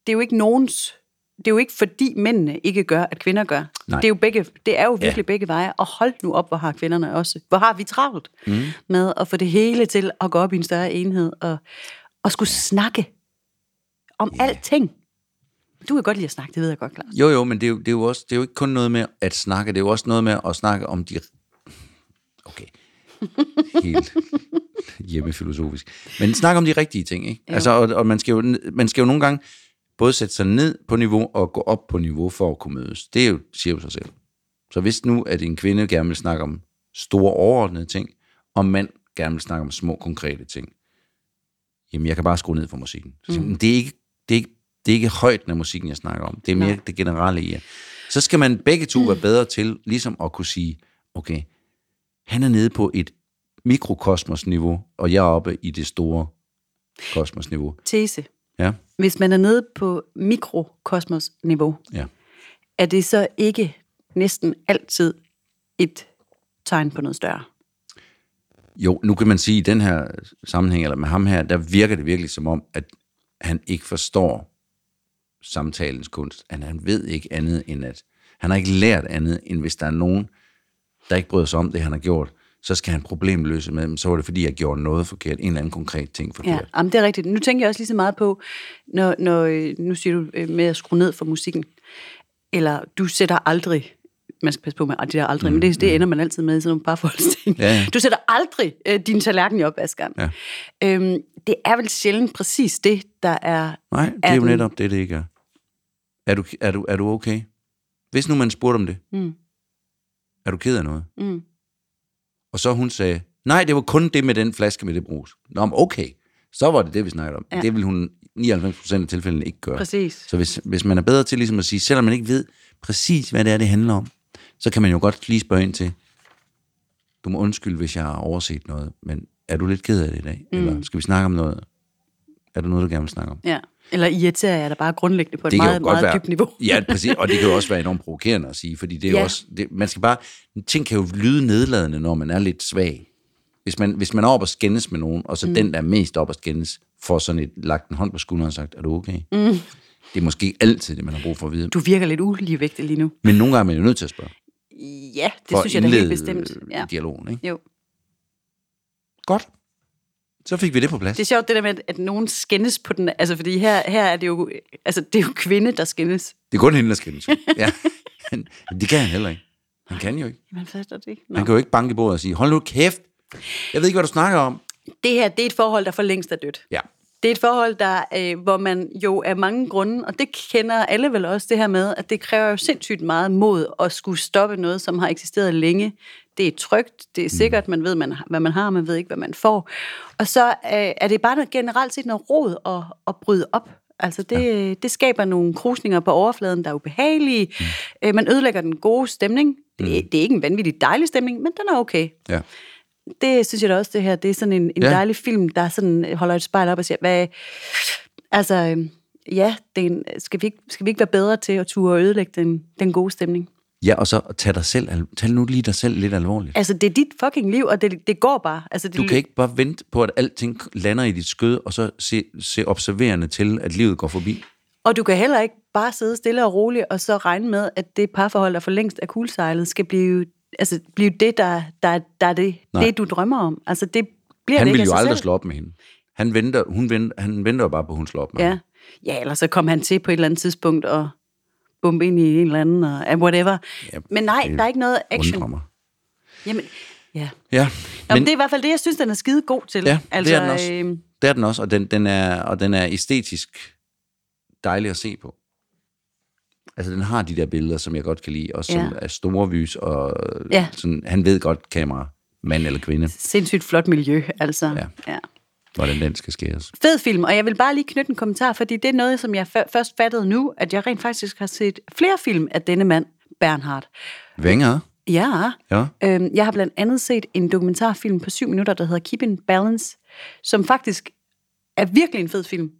[SPEAKER 2] det er jo ikke nogens... Det er jo ikke fordi mændene ikke gør, at kvinder gør.
[SPEAKER 1] Nej.
[SPEAKER 2] Det er jo begge, det er jo virkelig ja. begge veje. Og hold nu op, hvor har kvinderne også... Hvor har vi travlt mm. med at få det hele til at gå op i en større enhed og, og skulle snakke om yeah. alting. Du kan godt lide at snakke, det ved jeg godt, Claus.
[SPEAKER 1] Jo, jo, men det er jo, det er jo, også, det er jo ikke kun noget med at snakke, det er jo også noget med at snakke om de... Okay. Helt hjemmefilosofisk. Men snak om de rigtige ting, ikke? Jo. Altså, og, og man, skal jo, ned- man skal jo nogle gange både sætte sig ned på niveau og gå op på niveau for at kunne mødes. Det er jo, siger jo sig selv. Så hvis nu, at en kvinde gerne vil snakke om store overordnede ting, og mand gerne vil snakke om små konkrete ting, jamen jeg kan bare skrue ned for musikken. Så siger, mm. det, er ikke, det, er ikke, det er ikke højden af musikken, jeg snakker om. Det er mere Nej. det generelle i jer. Så skal man begge to være bedre til ligesom at kunne sige, okay, han er nede på et mikrokosmos-niveau, og jeg er oppe i det store kosmos-niveau.
[SPEAKER 2] Tese.
[SPEAKER 1] Ja,
[SPEAKER 2] Hvis man er nede på mikrokosmos-niveau,
[SPEAKER 1] ja.
[SPEAKER 2] er det så ikke næsten altid et tegn på noget større?
[SPEAKER 1] Jo, nu kan man sige, at i den her sammenhæng, eller med ham her, der virker det virkelig som om, at han ikke forstår samtalens kunst. Han, han ved ikke andet end at... Han har ikke lært andet, end hvis der er nogen, der ikke bryder sig om det, han har gjort, så skal han problemløse med dem. Så var det, fordi jeg gjorde noget forkert, en eller anden konkret ting
[SPEAKER 2] Ja,
[SPEAKER 1] forkert.
[SPEAKER 2] jamen, det er rigtigt. Nu tænker jeg også lige så meget på, når, når øh, nu siger du øh, med at skrue ned for musikken, eller du sætter aldrig, man skal passe på med det der aldrig, mm, men det, det ender man altid med i sådan nogle parforholdsting.
[SPEAKER 1] Ja, ja.
[SPEAKER 2] Du sætter aldrig øh, din tallerken i opvaskeren.
[SPEAKER 1] Ja.
[SPEAKER 2] Øhm, det er vel sjældent præcis det, der er...
[SPEAKER 1] Nej, det er jo
[SPEAKER 2] den-
[SPEAKER 1] netop det, det ikke er. Er du, er du, er du okay? Hvis nu man spurgte om det,
[SPEAKER 2] Mm.
[SPEAKER 1] er du ked af noget?
[SPEAKER 2] Mm.
[SPEAKER 1] Og så hun sagde, nej, det var kun det med den flaske med det brus. Nå, men okay, så var det det, vi snakkede om. Ja. Det vil hun i 99% af tilfældene ikke gøre.
[SPEAKER 2] Præcis.
[SPEAKER 1] Så hvis, hvis man er bedre til ligesom at sige, selvom man ikke ved præcis, hvad det er, det handler om, så kan man jo godt lige spørge ind til, du må undskylde, hvis jeg har overset noget, men er du lidt ked af det i dag? Mm. Eller skal vi snakke om noget? Er der noget, du gerne vil snakke om?
[SPEAKER 2] Ja. Eller irriterer jeg dig bare grundlæggende på et
[SPEAKER 1] det kan
[SPEAKER 2] meget,
[SPEAKER 1] jo godt
[SPEAKER 2] meget
[SPEAKER 1] være,
[SPEAKER 2] dybt niveau.
[SPEAKER 1] Ja, præcis. Og det kan jo også være enormt provokerende at sige, fordi det er ja.
[SPEAKER 2] Ja.
[SPEAKER 1] jo også... Det, man skal bare... Ting kan jo lyde nedladende, når man er lidt svag. Hvis man, hvis man er oppe og skændes med nogen, og så mm. den, der er mest oppe og skændes, får sådan et lagt en hånd på skulderen og sagt, er du okay? Mm. Det er måske altid det, man har brug for at vide.
[SPEAKER 2] Du virker lidt uligevægtig lige nu.
[SPEAKER 1] Men nogle gange er man jo nødt til at spørge.
[SPEAKER 2] Ja, det
[SPEAKER 1] for at
[SPEAKER 2] synes jeg da helt
[SPEAKER 1] indlede,
[SPEAKER 2] bestemt.
[SPEAKER 1] øh,
[SPEAKER 2] Ja.
[SPEAKER 1] dialogen, ikke?
[SPEAKER 2] Jo.
[SPEAKER 1] Godt. Så fik vi det på plads.
[SPEAKER 2] Det er sjovt det der med, at- at nogen skændes på den, altså fordi her, her er det jo, altså det er jo kvinde, der skændes.
[SPEAKER 1] Det er kun hende, der skændes. ja. Men Det kan han heller ikke. Han kan jo ikke.
[SPEAKER 2] Man fatter det ikke.
[SPEAKER 1] Han
[SPEAKER 2] Nå.
[SPEAKER 1] kan jo ikke banke i bordet og sige, hold nu kæft. Jeg ved ikke, hvad du snakker om.
[SPEAKER 2] Det her, det er et forhold, der for længst er dødt.
[SPEAKER 1] Ja.
[SPEAKER 2] Det er et forhold, der, øh, hvor man jo af mange grunde, og det kender alle vel også det her med, at det kræver jo sindssygt meget mod at skulle stoppe noget, som har eksisteret længe. Det er trygt, det er sikkert, man ved, man, har- hvad man har, man ved ikke, hvad man får. Og så øh, er det bare noget, generelt set noget rod at, at bryde op. Altså det, Øh, ja. det skaber nogle krusninger på overfladen, der er ubehagelige. Mm. Øh, man ødelægger den gode stemning. Det, mm. det er ikke en vanvittig dejlig stemning, men den er okay.
[SPEAKER 1] Ja.
[SPEAKER 2] Det synes jeg da også, det her, det er sådan en, en
[SPEAKER 1] Ja.
[SPEAKER 2] ja. dejlig film, der sådan holder et spejl op og siger, hvad, altså, øhm, ja, den, skal, vi ikke, skal vi ikke være bedre til at turde ødelægge den, den gode stemning?
[SPEAKER 1] ja, og så tag dig selv, al- tag nu lige dig selv lidt alvorligt.
[SPEAKER 2] Altså, det er dit fucking liv, og det, det går bare. Altså, det,
[SPEAKER 1] Du kan ikke bare vente på, at alting lander i dit skød, og så se, se observerende til, at livet går forbi.
[SPEAKER 2] Og du kan heller ikke bare sidde stille og roligt, og så regne med, at det parforhold, der for længst er kulsejlet, skal blive, altså, blive det, der, der, der er det,
[SPEAKER 1] Nej.
[SPEAKER 2] det, du drømmer om. Altså, det bliver
[SPEAKER 1] Han
[SPEAKER 2] det ikke
[SPEAKER 1] ville
[SPEAKER 2] af
[SPEAKER 1] jo
[SPEAKER 2] sig
[SPEAKER 1] aldrig
[SPEAKER 2] selv.
[SPEAKER 1] slå op med hende. Han venter, hun venter, han venter jo bare på, at hun slår op med
[SPEAKER 2] Ja.
[SPEAKER 1] ham.
[SPEAKER 2] ja, eller så kom han til på et eller andet tidspunkt og bombe ind i en eller anden, og ja, whatever.
[SPEAKER 1] Ja,
[SPEAKER 2] Men nej,
[SPEAKER 1] det
[SPEAKER 2] der er ikke noget
[SPEAKER 1] Undrer
[SPEAKER 2] action.
[SPEAKER 1] mig.
[SPEAKER 2] Jamen, ja.
[SPEAKER 1] Ja,
[SPEAKER 2] Nå, men, det er i hvert fald det, jeg synes, den er skide god til.
[SPEAKER 1] Ja, det er den også.
[SPEAKER 2] øhm,
[SPEAKER 1] Det er den også, og den, den, er, og den er æstetisk dejlig at se på. Altså, den har de der billeder, som jeg godt kan lide, og som
[SPEAKER 2] Ja.
[SPEAKER 1] er store vys, og
[SPEAKER 2] Ja.
[SPEAKER 1] sådan, han ved godt, kamera, mand eller kvinde,
[SPEAKER 2] sindssygt flot miljø, altså. Ja. ja.
[SPEAKER 1] hvordan den skal skæres.
[SPEAKER 2] Fed film, og jeg vil bare lige knytte en kommentar, fordi det er noget, som jeg f- først fattede nu, at jeg rent faktisk har set flere film af denne mand, Bernhard.
[SPEAKER 1] Vænger,
[SPEAKER 2] Ja,
[SPEAKER 1] ja.
[SPEAKER 2] øhm, jeg har blandt andet set en dokumentarfilm på syv minutter, der hedder Keep in Balance, som faktisk er virkelig en fed film.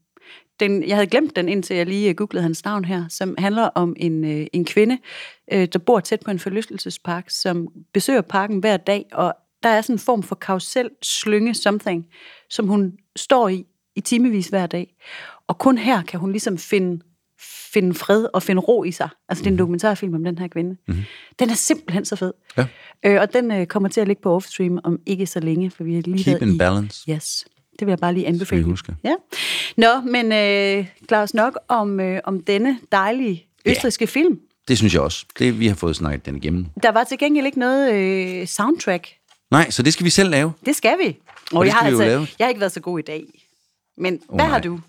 [SPEAKER 2] Den, jeg havde glemt den, indtil jeg lige øh, googlede hans navn her, som handler om en, øh, en kvinde, øh, der bor tæt på en forlystelsespark, som besøger parken hver dag, og der er sådan en form for karusel, slynge, something, som hun står i i timevis hver dag. Og kun her kan hun ligesom finde, finde fred og finde ro i sig. Altså, det er en dokumentarfilm om den her kvinde. Mm-hmm. Den er simpelthen så fed.
[SPEAKER 1] Ja.
[SPEAKER 2] Øh, og den øh, kommer til at ligge på Offstream om ikke så længe, for vi har lige
[SPEAKER 1] Keep
[SPEAKER 2] været
[SPEAKER 1] in
[SPEAKER 2] i...
[SPEAKER 1] balance.
[SPEAKER 2] Yes, det vil jeg bare lige anbefale.
[SPEAKER 1] vi huske.
[SPEAKER 2] Ja. Nå, men øh, Claus, nok om, øh, om denne dejlige
[SPEAKER 1] Ja.
[SPEAKER 2] østrigske yeah. film.
[SPEAKER 1] Det synes jeg også. Det, vi har fået snakket den igennem.
[SPEAKER 2] Der var til gengæld ikke noget øh, soundtrack.
[SPEAKER 1] Nej, så det skal vi selv lave.
[SPEAKER 2] Det skal vi. Og,
[SPEAKER 1] det
[SPEAKER 2] jeg, har
[SPEAKER 1] skal vi jo
[SPEAKER 2] altså,
[SPEAKER 1] lave.
[SPEAKER 2] jeg har ikke været så god i dag. Men oh, hvad
[SPEAKER 1] nej.
[SPEAKER 2] har du?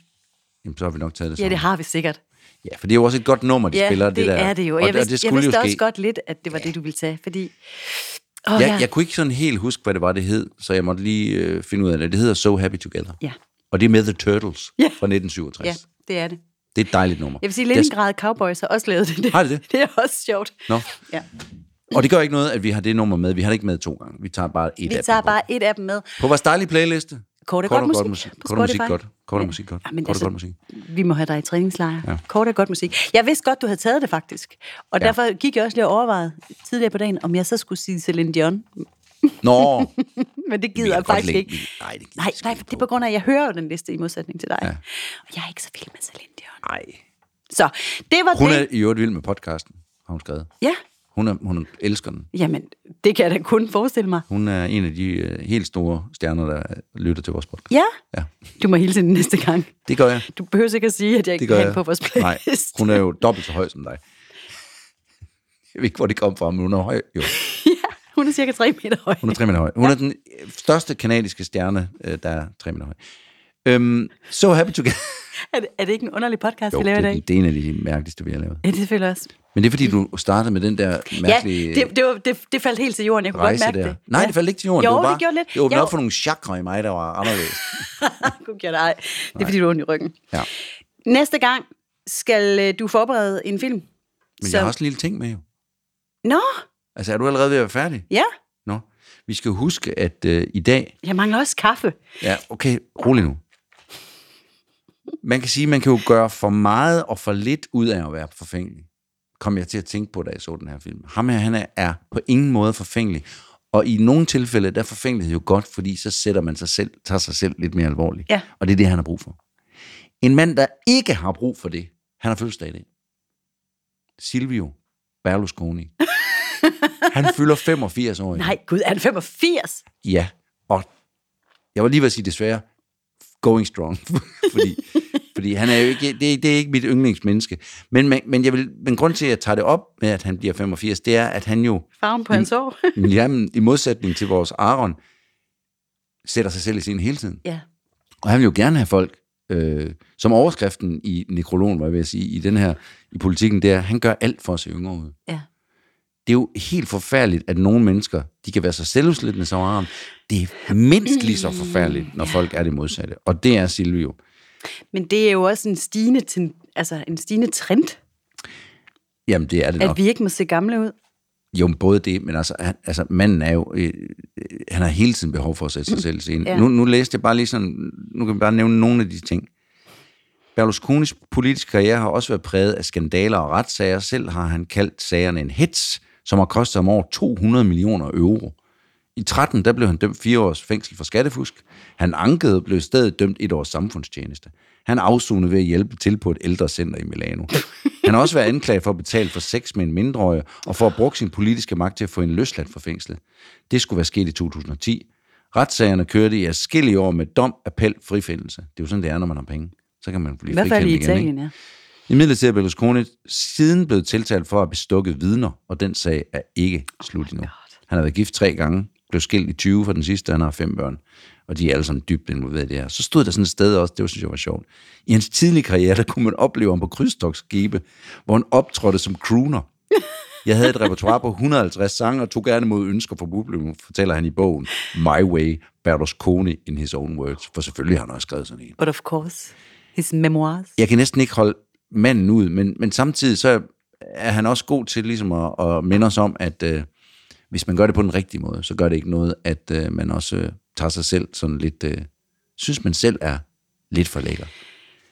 [SPEAKER 1] Jamen, så har vi nok taget det
[SPEAKER 2] Ja,
[SPEAKER 1] sammen.
[SPEAKER 2] det har vi sikkert.
[SPEAKER 1] Ja, for det er jo også et godt nummer, de
[SPEAKER 2] ja,
[SPEAKER 1] spiller.
[SPEAKER 2] det, det
[SPEAKER 1] der.
[SPEAKER 2] er det jo. Og jeg
[SPEAKER 1] og
[SPEAKER 2] vidste,
[SPEAKER 1] det
[SPEAKER 2] jeg
[SPEAKER 1] skulle
[SPEAKER 2] vidste
[SPEAKER 1] jo
[SPEAKER 2] også
[SPEAKER 1] ske.
[SPEAKER 2] godt lidt, at det var det, du ville tage, fordi... Åh,
[SPEAKER 1] Jeg,
[SPEAKER 2] ja.
[SPEAKER 1] jeg kunne ikke sådan helt huske, hvad det var, det hed, så jeg måtte lige øh, finde ud af det. Det hedder So Happy Together.
[SPEAKER 2] Ja.
[SPEAKER 1] Og det er med The Turtles
[SPEAKER 2] Ja.
[SPEAKER 1] fra 1967.
[SPEAKER 2] ja, det er det.
[SPEAKER 1] Det er et dejligt nummer.
[SPEAKER 2] Jeg vil sige, Leningrad Cowboys har også lavet det.
[SPEAKER 1] Har de det?
[SPEAKER 2] Det er også sjovt.
[SPEAKER 1] Nå.
[SPEAKER 2] Ja.
[SPEAKER 1] Og det gør ikke noget, at vi har det nummer med. Vi har det ikke med to gange. Vi tager bare et
[SPEAKER 2] Vi
[SPEAKER 1] af
[SPEAKER 2] tager
[SPEAKER 1] dem på.
[SPEAKER 2] bare et af dem med.
[SPEAKER 1] På vores dejlige playliste.
[SPEAKER 2] Kort er godt musik på
[SPEAKER 1] Kort er musik
[SPEAKER 2] Spotify.
[SPEAKER 1] godt. Kort er musik godt.
[SPEAKER 2] Ja, men
[SPEAKER 1] Kort er
[SPEAKER 2] altså-
[SPEAKER 1] godt musik.
[SPEAKER 2] Vi må have dig i træningslejr. Ja. Kort er godt musik. Jeg vidste godt, du havde taget det faktisk. Og ja. derfor gik jeg også lige og overvejede tidligere på dagen, om jeg så skulle sige Celine Dion.
[SPEAKER 1] Nå,
[SPEAKER 2] Men det
[SPEAKER 1] vi
[SPEAKER 2] gider jeg
[SPEAKER 1] kan godt
[SPEAKER 2] faktisk
[SPEAKER 1] lægge-
[SPEAKER 2] ikke.
[SPEAKER 1] vi- Nej, det gider
[SPEAKER 2] Nej, nej, det er på grund af, at jeg hører jo den liste i modsætning til dig.
[SPEAKER 1] Ja.
[SPEAKER 2] Ja. Og jeg er ikke så vild med Celine Dion.
[SPEAKER 1] Nej.
[SPEAKER 2] Så det var
[SPEAKER 1] Hun
[SPEAKER 2] det.
[SPEAKER 1] er i øvrigt vild med podcasten, har hun skrevet.
[SPEAKER 2] Ja,
[SPEAKER 1] Hun, er, hun elsker den.
[SPEAKER 2] jamen, det kan jeg da kun forestille mig.
[SPEAKER 1] Hun er en af de øh, helt store stjerner, der lytter til vores podcast.
[SPEAKER 2] Ja,
[SPEAKER 1] Ja,
[SPEAKER 2] du må hilse hende næste gang.
[SPEAKER 1] det gør jeg.
[SPEAKER 2] Du behøver ikke at sige, at jeg ikke
[SPEAKER 1] Det gør
[SPEAKER 2] kan have
[SPEAKER 1] jeg.
[SPEAKER 2] hende på vores
[SPEAKER 1] Nej,
[SPEAKER 2] playlist.
[SPEAKER 1] hun er jo dobbelt så høj som dig. Jeg ved ikke, hvor det kom fra, men hun er høj. Jo,
[SPEAKER 2] hun er cirka 3 meter høj.
[SPEAKER 1] hun er tre meter høj. Hun er den øh, største kanadiske stjerne, øh, der er tre meter høj. Øhm, so happy together.
[SPEAKER 2] Er det, er det ikke en underlig podcast, vi
[SPEAKER 1] det,
[SPEAKER 2] laver i
[SPEAKER 1] er
[SPEAKER 2] dag?
[SPEAKER 1] den- det er en af de mærkeligste, vi har lavet.
[SPEAKER 2] Ja, det er selvfølgelig også.
[SPEAKER 1] Men det er, fordi du startede med den der mærkelige
[SPEAKER 2] Ja, det, det, var, det, det faldt helt til jorden. Jeg kunne godt
[SPEAKER 1] rejse
[SPEAKER 2] mærke
[SPEAKER 1] der.
[SPEAKER 2] det.
[SPEAKER 1] Nej,
[SPEAKER 2] ja.
[SPEAKER 1] det faldt ikke til jorden.
[SPEAKER 2] Jo,
[SPEAKER 1] det, var bare,
[SPEAKER 2] det gjorde lidt.
[SPEAKER 1] Det åbnede
[SPEAKER 2] Jeg-
[SPEAKER 1] op for nogle chakra i mig, der var anderledes.
[SPEAKER 2] kunne gøre dig. Det er, fordi du er ondt i ryggen.
[SPEAKER 1] Ja.
[SPEAKER 2] Næste gang skal øh, du forberede en film.
[SPEAKER 1] Men jeg har også en lille ting med jo.
[SPEAKER 2] Nå,
[SPEAKER 1] Altså, er du allerede ved at være færdig?
[SPEAKER 2] ja.
[SPEAKER 1] Nå. Vi skal huske, at øh, i dag...
[SPEAKER 2] Jeg mangler også kaffe.
[SPEAKER 1] Ja, okay, rolig nu. Man kan sige, man kan jo gøre for meget og for lidt ud af at være forfængelig. Kom jeg til at tænke på, da jeg så den her film. Ham her, han er, er på ingen måde forfængelig. Og i nogle tilfælde, der er forfængelighed jo godt, fordi så sætter man sig selv, tager sig selv lidt mere alvorligt.
[SPEAKER 2] Ja.
[SPEAKER 1] Og det er det, han har brug for. En mand, der ikke har brug for det, han har fødselsdag i dag. Silvio Berlusconi. Han fylder 85 år. i dag.
[SPEAKER 2] Nej, gud, er han 85?
[SPEAKER 1] Ja, og jeg var lige ved at sige desværre, going strong, fordi, fordi han er jo ikke, det, er- det er ikke mit yndlingsmenneske. Men, men, men, jeg vil, men grund til, at jeg tager det op med, at han bliver 85, det er, at han jo,
[SPEAKER 2] Farven på
[SPEAKER 1] Mm.
[SPEAKER 2] hans hår?
[SPEAKER 1] jamen, i modsætning til vores Aaron, sætter sig selv i scenen hele tiden.
[SPEAKER 2] ja.
[SPEAKER 1] Og han vil jo gerne have folk, øh, som overskriften i Nekrologen, var jeg ved at sige, i den her, i politikken, det er, at han gør alt for at se yngre ud
[SPEAKER 2] ja.
[SPEAKER 1] det er jo helt forfærdeligt, at nogle mennesker, de kan være så selvudslættende som arm. Det er mindst lige så forfærdeligt, når folk er det modsatte. Og det er Silvio.
[SPEAKER 2] Men det er jo også en stigende, ten, altså en stigende trend,
[SPEAKER 1] Jamen, det er det
[SPEAKER 2] at
[SPEAKER 1] nok.
[SPEAKER 2] vi ikke må se gamle ud.
[SPEAKER 1] Jo, men både det, men altså, han, altså manden er jo, øh, øh, han har hele tiden behov for at sætte sig selv i scenen.
[SPEAKER 2] Ja.
[SPEAKER 1] Ja. Nu, nu læste jeg bare lige sådan, nu kan vi bare nævne nogle af de ting. Berlusconis politiske karriere har også været præget af skandaler og retssager. Selv har han kaldt sagerne en hets, som har kostet ham over 200 millioner euro. I 13 der blev han dømt fire års fængsel for skattefusk. Han ankede og blev i stedet dømt et års samfundstjeneste. Han afsonede ved at hjælpe til på et ældrecenter i Milano. Han har også været anklaget for at betale for sex med en mindreårig, og for at bruge sin politiske magt til at få en løsladt fra fængslet. Det skulle være sket i 2010. Retssagerne kørte i adskillige år med dom, appel, frifindelse. Det er jo sådan, det er, når man har penge. Så kan man blive
[SPEAKER 2] I hvert fald
[SPEAKER 1] frikendt
[SPEAKER 2] i
[SPEAKER 1] igen, ikke?
[SPEAKER 2] Italien, ja.
[SPEAKER 1] I midlertid er Berlusconi siden blevet tiltalt for at have bestukket vidner, og den sag er ikke slut endnu. Han har været gift tre gange, blev skilt i 20 for den sidste, og han har fem børn. Og de er alle sammen dybt involveret i det her. Så stod der sådan et sted også, det var, synes jeg var sjovt. I hans tidlige karriere, der kunne man opleve ham på krydstogsskibe, hvor han optrådte som crooner. Jeg havde et repertoire på 150 sange og tog gerne mod ønsker fra publikum, fortæller han i bogen My Way, Berlusconi in His Own Words. For selvfølgelig har han også skrevet sådan en.
[SPEAKER 2] But of course, his memoirs.
[SPEAKER 1] jeg kan næsten ikke holde manden ud, men, men samtidig så er han også god til ligesom at, at minde os om, at øh, hvis man gør det på den rigtige måde, så gør det ikke noget, at øh, man også øh, tager sig selv sådan lidt, øh, synes man selv er lidt for lækker.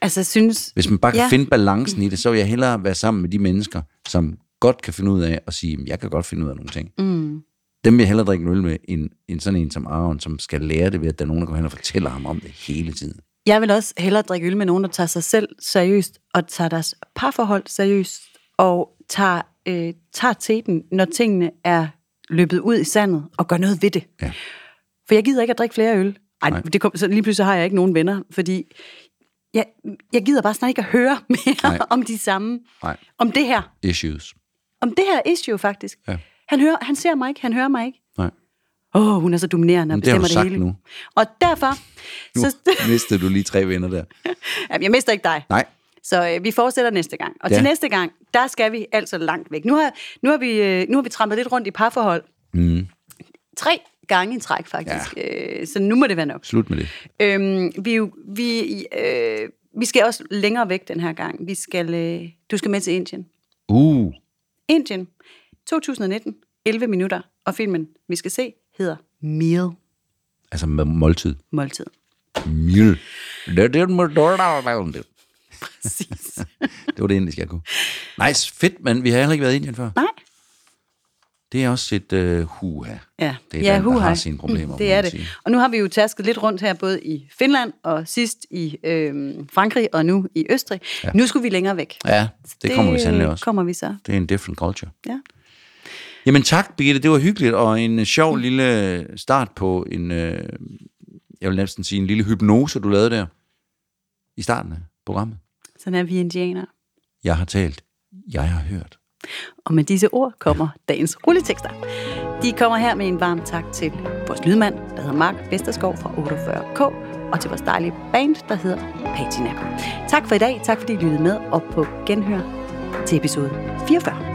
[SPEAKER 2] Altså, jeg synes...
[SPEAKER 1] Hvis man bare kan
[SPEAKER 2] Ja.
[SPEAKER 1] ja. finde balancen i det, så vil jeg hellere være sammen med de mennesker, som godt kan finde ud af at sige, "Jamen, jeg kan godt finde ud af nogle ting. Mm. Dem vil jeg hellere drikke en øl med, end, end sådan en som Aaron, som skal lære det ved, at der er nogen, der går hen og fortæller ham om det hele tiden.
[SPEAKER 2] Jeg vil også hellere drikke øl med nogen, der tager sig selv seriøst, og tager deres parforhold seriøst, og tager, øh, tager teten, når tingene er løbet ud i sandet, og gør noget ved det.
[SPEAKER 1] Ja.
[SPEAKER 2] For jeg gider ikke at drikke flere øl. Ej,
[SPEAKER 1] Nej.
[SPEAKER 2] det kom, så lige pludselig har jeg ikke nogen venner, fordi jeg, jeg gider bare snart ikke at høre mere Nej.
[SPEAKER 1] Nej.
[SPEAKER 2] om de samme.
[SPEAKER 1] Nej.
[SPEAKER 2] Om det her.
[SPEAKER 1] Issues.
[SPEAKER 2] Om det her issue, faktisk.
[SPEAKER 1] Ja.
[SPEAKER 2] Han, hører, han ser mig ikke, han hører mig ikke.
[SPEAKER 1] Nej.
[SPEAKER 2] Åh, oh, hun er så dominerende og
[SPEAKER 1] Men det har
[SPEAKER 2] bestemmer
[SPEAKER 1] du sagt
[SPEAKER 2] det, hele.
[SPEAKER 1] nu.
[SPEAKER 2] Og derfor...
[SPEAKER 1] Nu
[SPEAKER 2] Så,
[SPEAKER 1] mistede du lige tre venner der.
[SPEAKER 2] Jamen, jeg mister ikke dig.
[SPEAKER 1] Nej,
[SPEAKER 2] Så øh, vi fortsætter næste gang. Og ja. til
[SPEAKER 1] Ja.
[SPEAKER 2] næste gang, der skal vi altså langt væk. Nu har, nu har, vi, øh, nu har vi trampet lidt rundt i parforhold. Mm. Tre gange i træk, faktisk. Ja. Øh, så nu må det være nok.
[SPEAKER 1] slut med det.
[SPEAKER 2] Øhm, vi, er jo- vi, øh, vi skal også længere væk den her gang. Vi skal, øh, du skal med til Indien.
[SPEAKER 1] Uh,
[SPEAKER 2] Indien, 2019, 11 minutter. Og filmen, vi skal se, hedder Meal
[SPEAKER 1] altså med måltid.
[SPEAKER 2] Måltid.
[SPEAKER 1] Mjøl. Det er med dårlig.
[SPEAKER 2] Præcis.
[SPEAKER 1] Det var det indiske, jeg kunne. Nice, fedt, men vi har heller ikke været i Indien før.
[SPEAKER 2] Nej.
[SPEAKER 1] Det er også et uh, huha.
[SPEAKER 2] Ja,
[SPEAKER 1] Det er et land, der
[SPEAKER 2] huhej.
[SPEAKER 1] har sine problemer,
[SPEAKER 2] det
[SPEAKER 1] må
[SPEAKER 2] er
[SPEAKER 1] man
[SPEAKER 2] det.
[SPEAKER 1] sige.
[SPEAKER 2] Og nu har vi jo tasket lidt rundt her, både i Finland og sidst i øh, Frankrig og nu i Østrig. Ja. Nu skulle vi længere væk.
[SPEAKER 1] Ja, det, det kommer vi sandelig også.
[SPEAKER 2] kommer vi så,
[SPEAKER 1] Det er en different culture.
[SPEAKER 2] ja.
[SPEAKER 1] Jamen tak, Birgitte. Det var hyggeligt, og en øh, sjov lille start på en, øh, jeg vil næsten sige, en lille hypnose, du lavede der i starten af programmet.
[SPEAKER 2] Sådan er vi indianere.
[SPEAKER 1] Jeg har talt. Jeg har hørt.
[SPEAKER 2] Og med disse ord kommer dagens rulletekster. De kommer her med en varm tak til vores lydmand, der hedder Mark Vesterskov fra 48K, og til vores dejlige band, der hedder Patina. Tak for i dag, tak fordi I lyttede med, og på genhør til episode 44.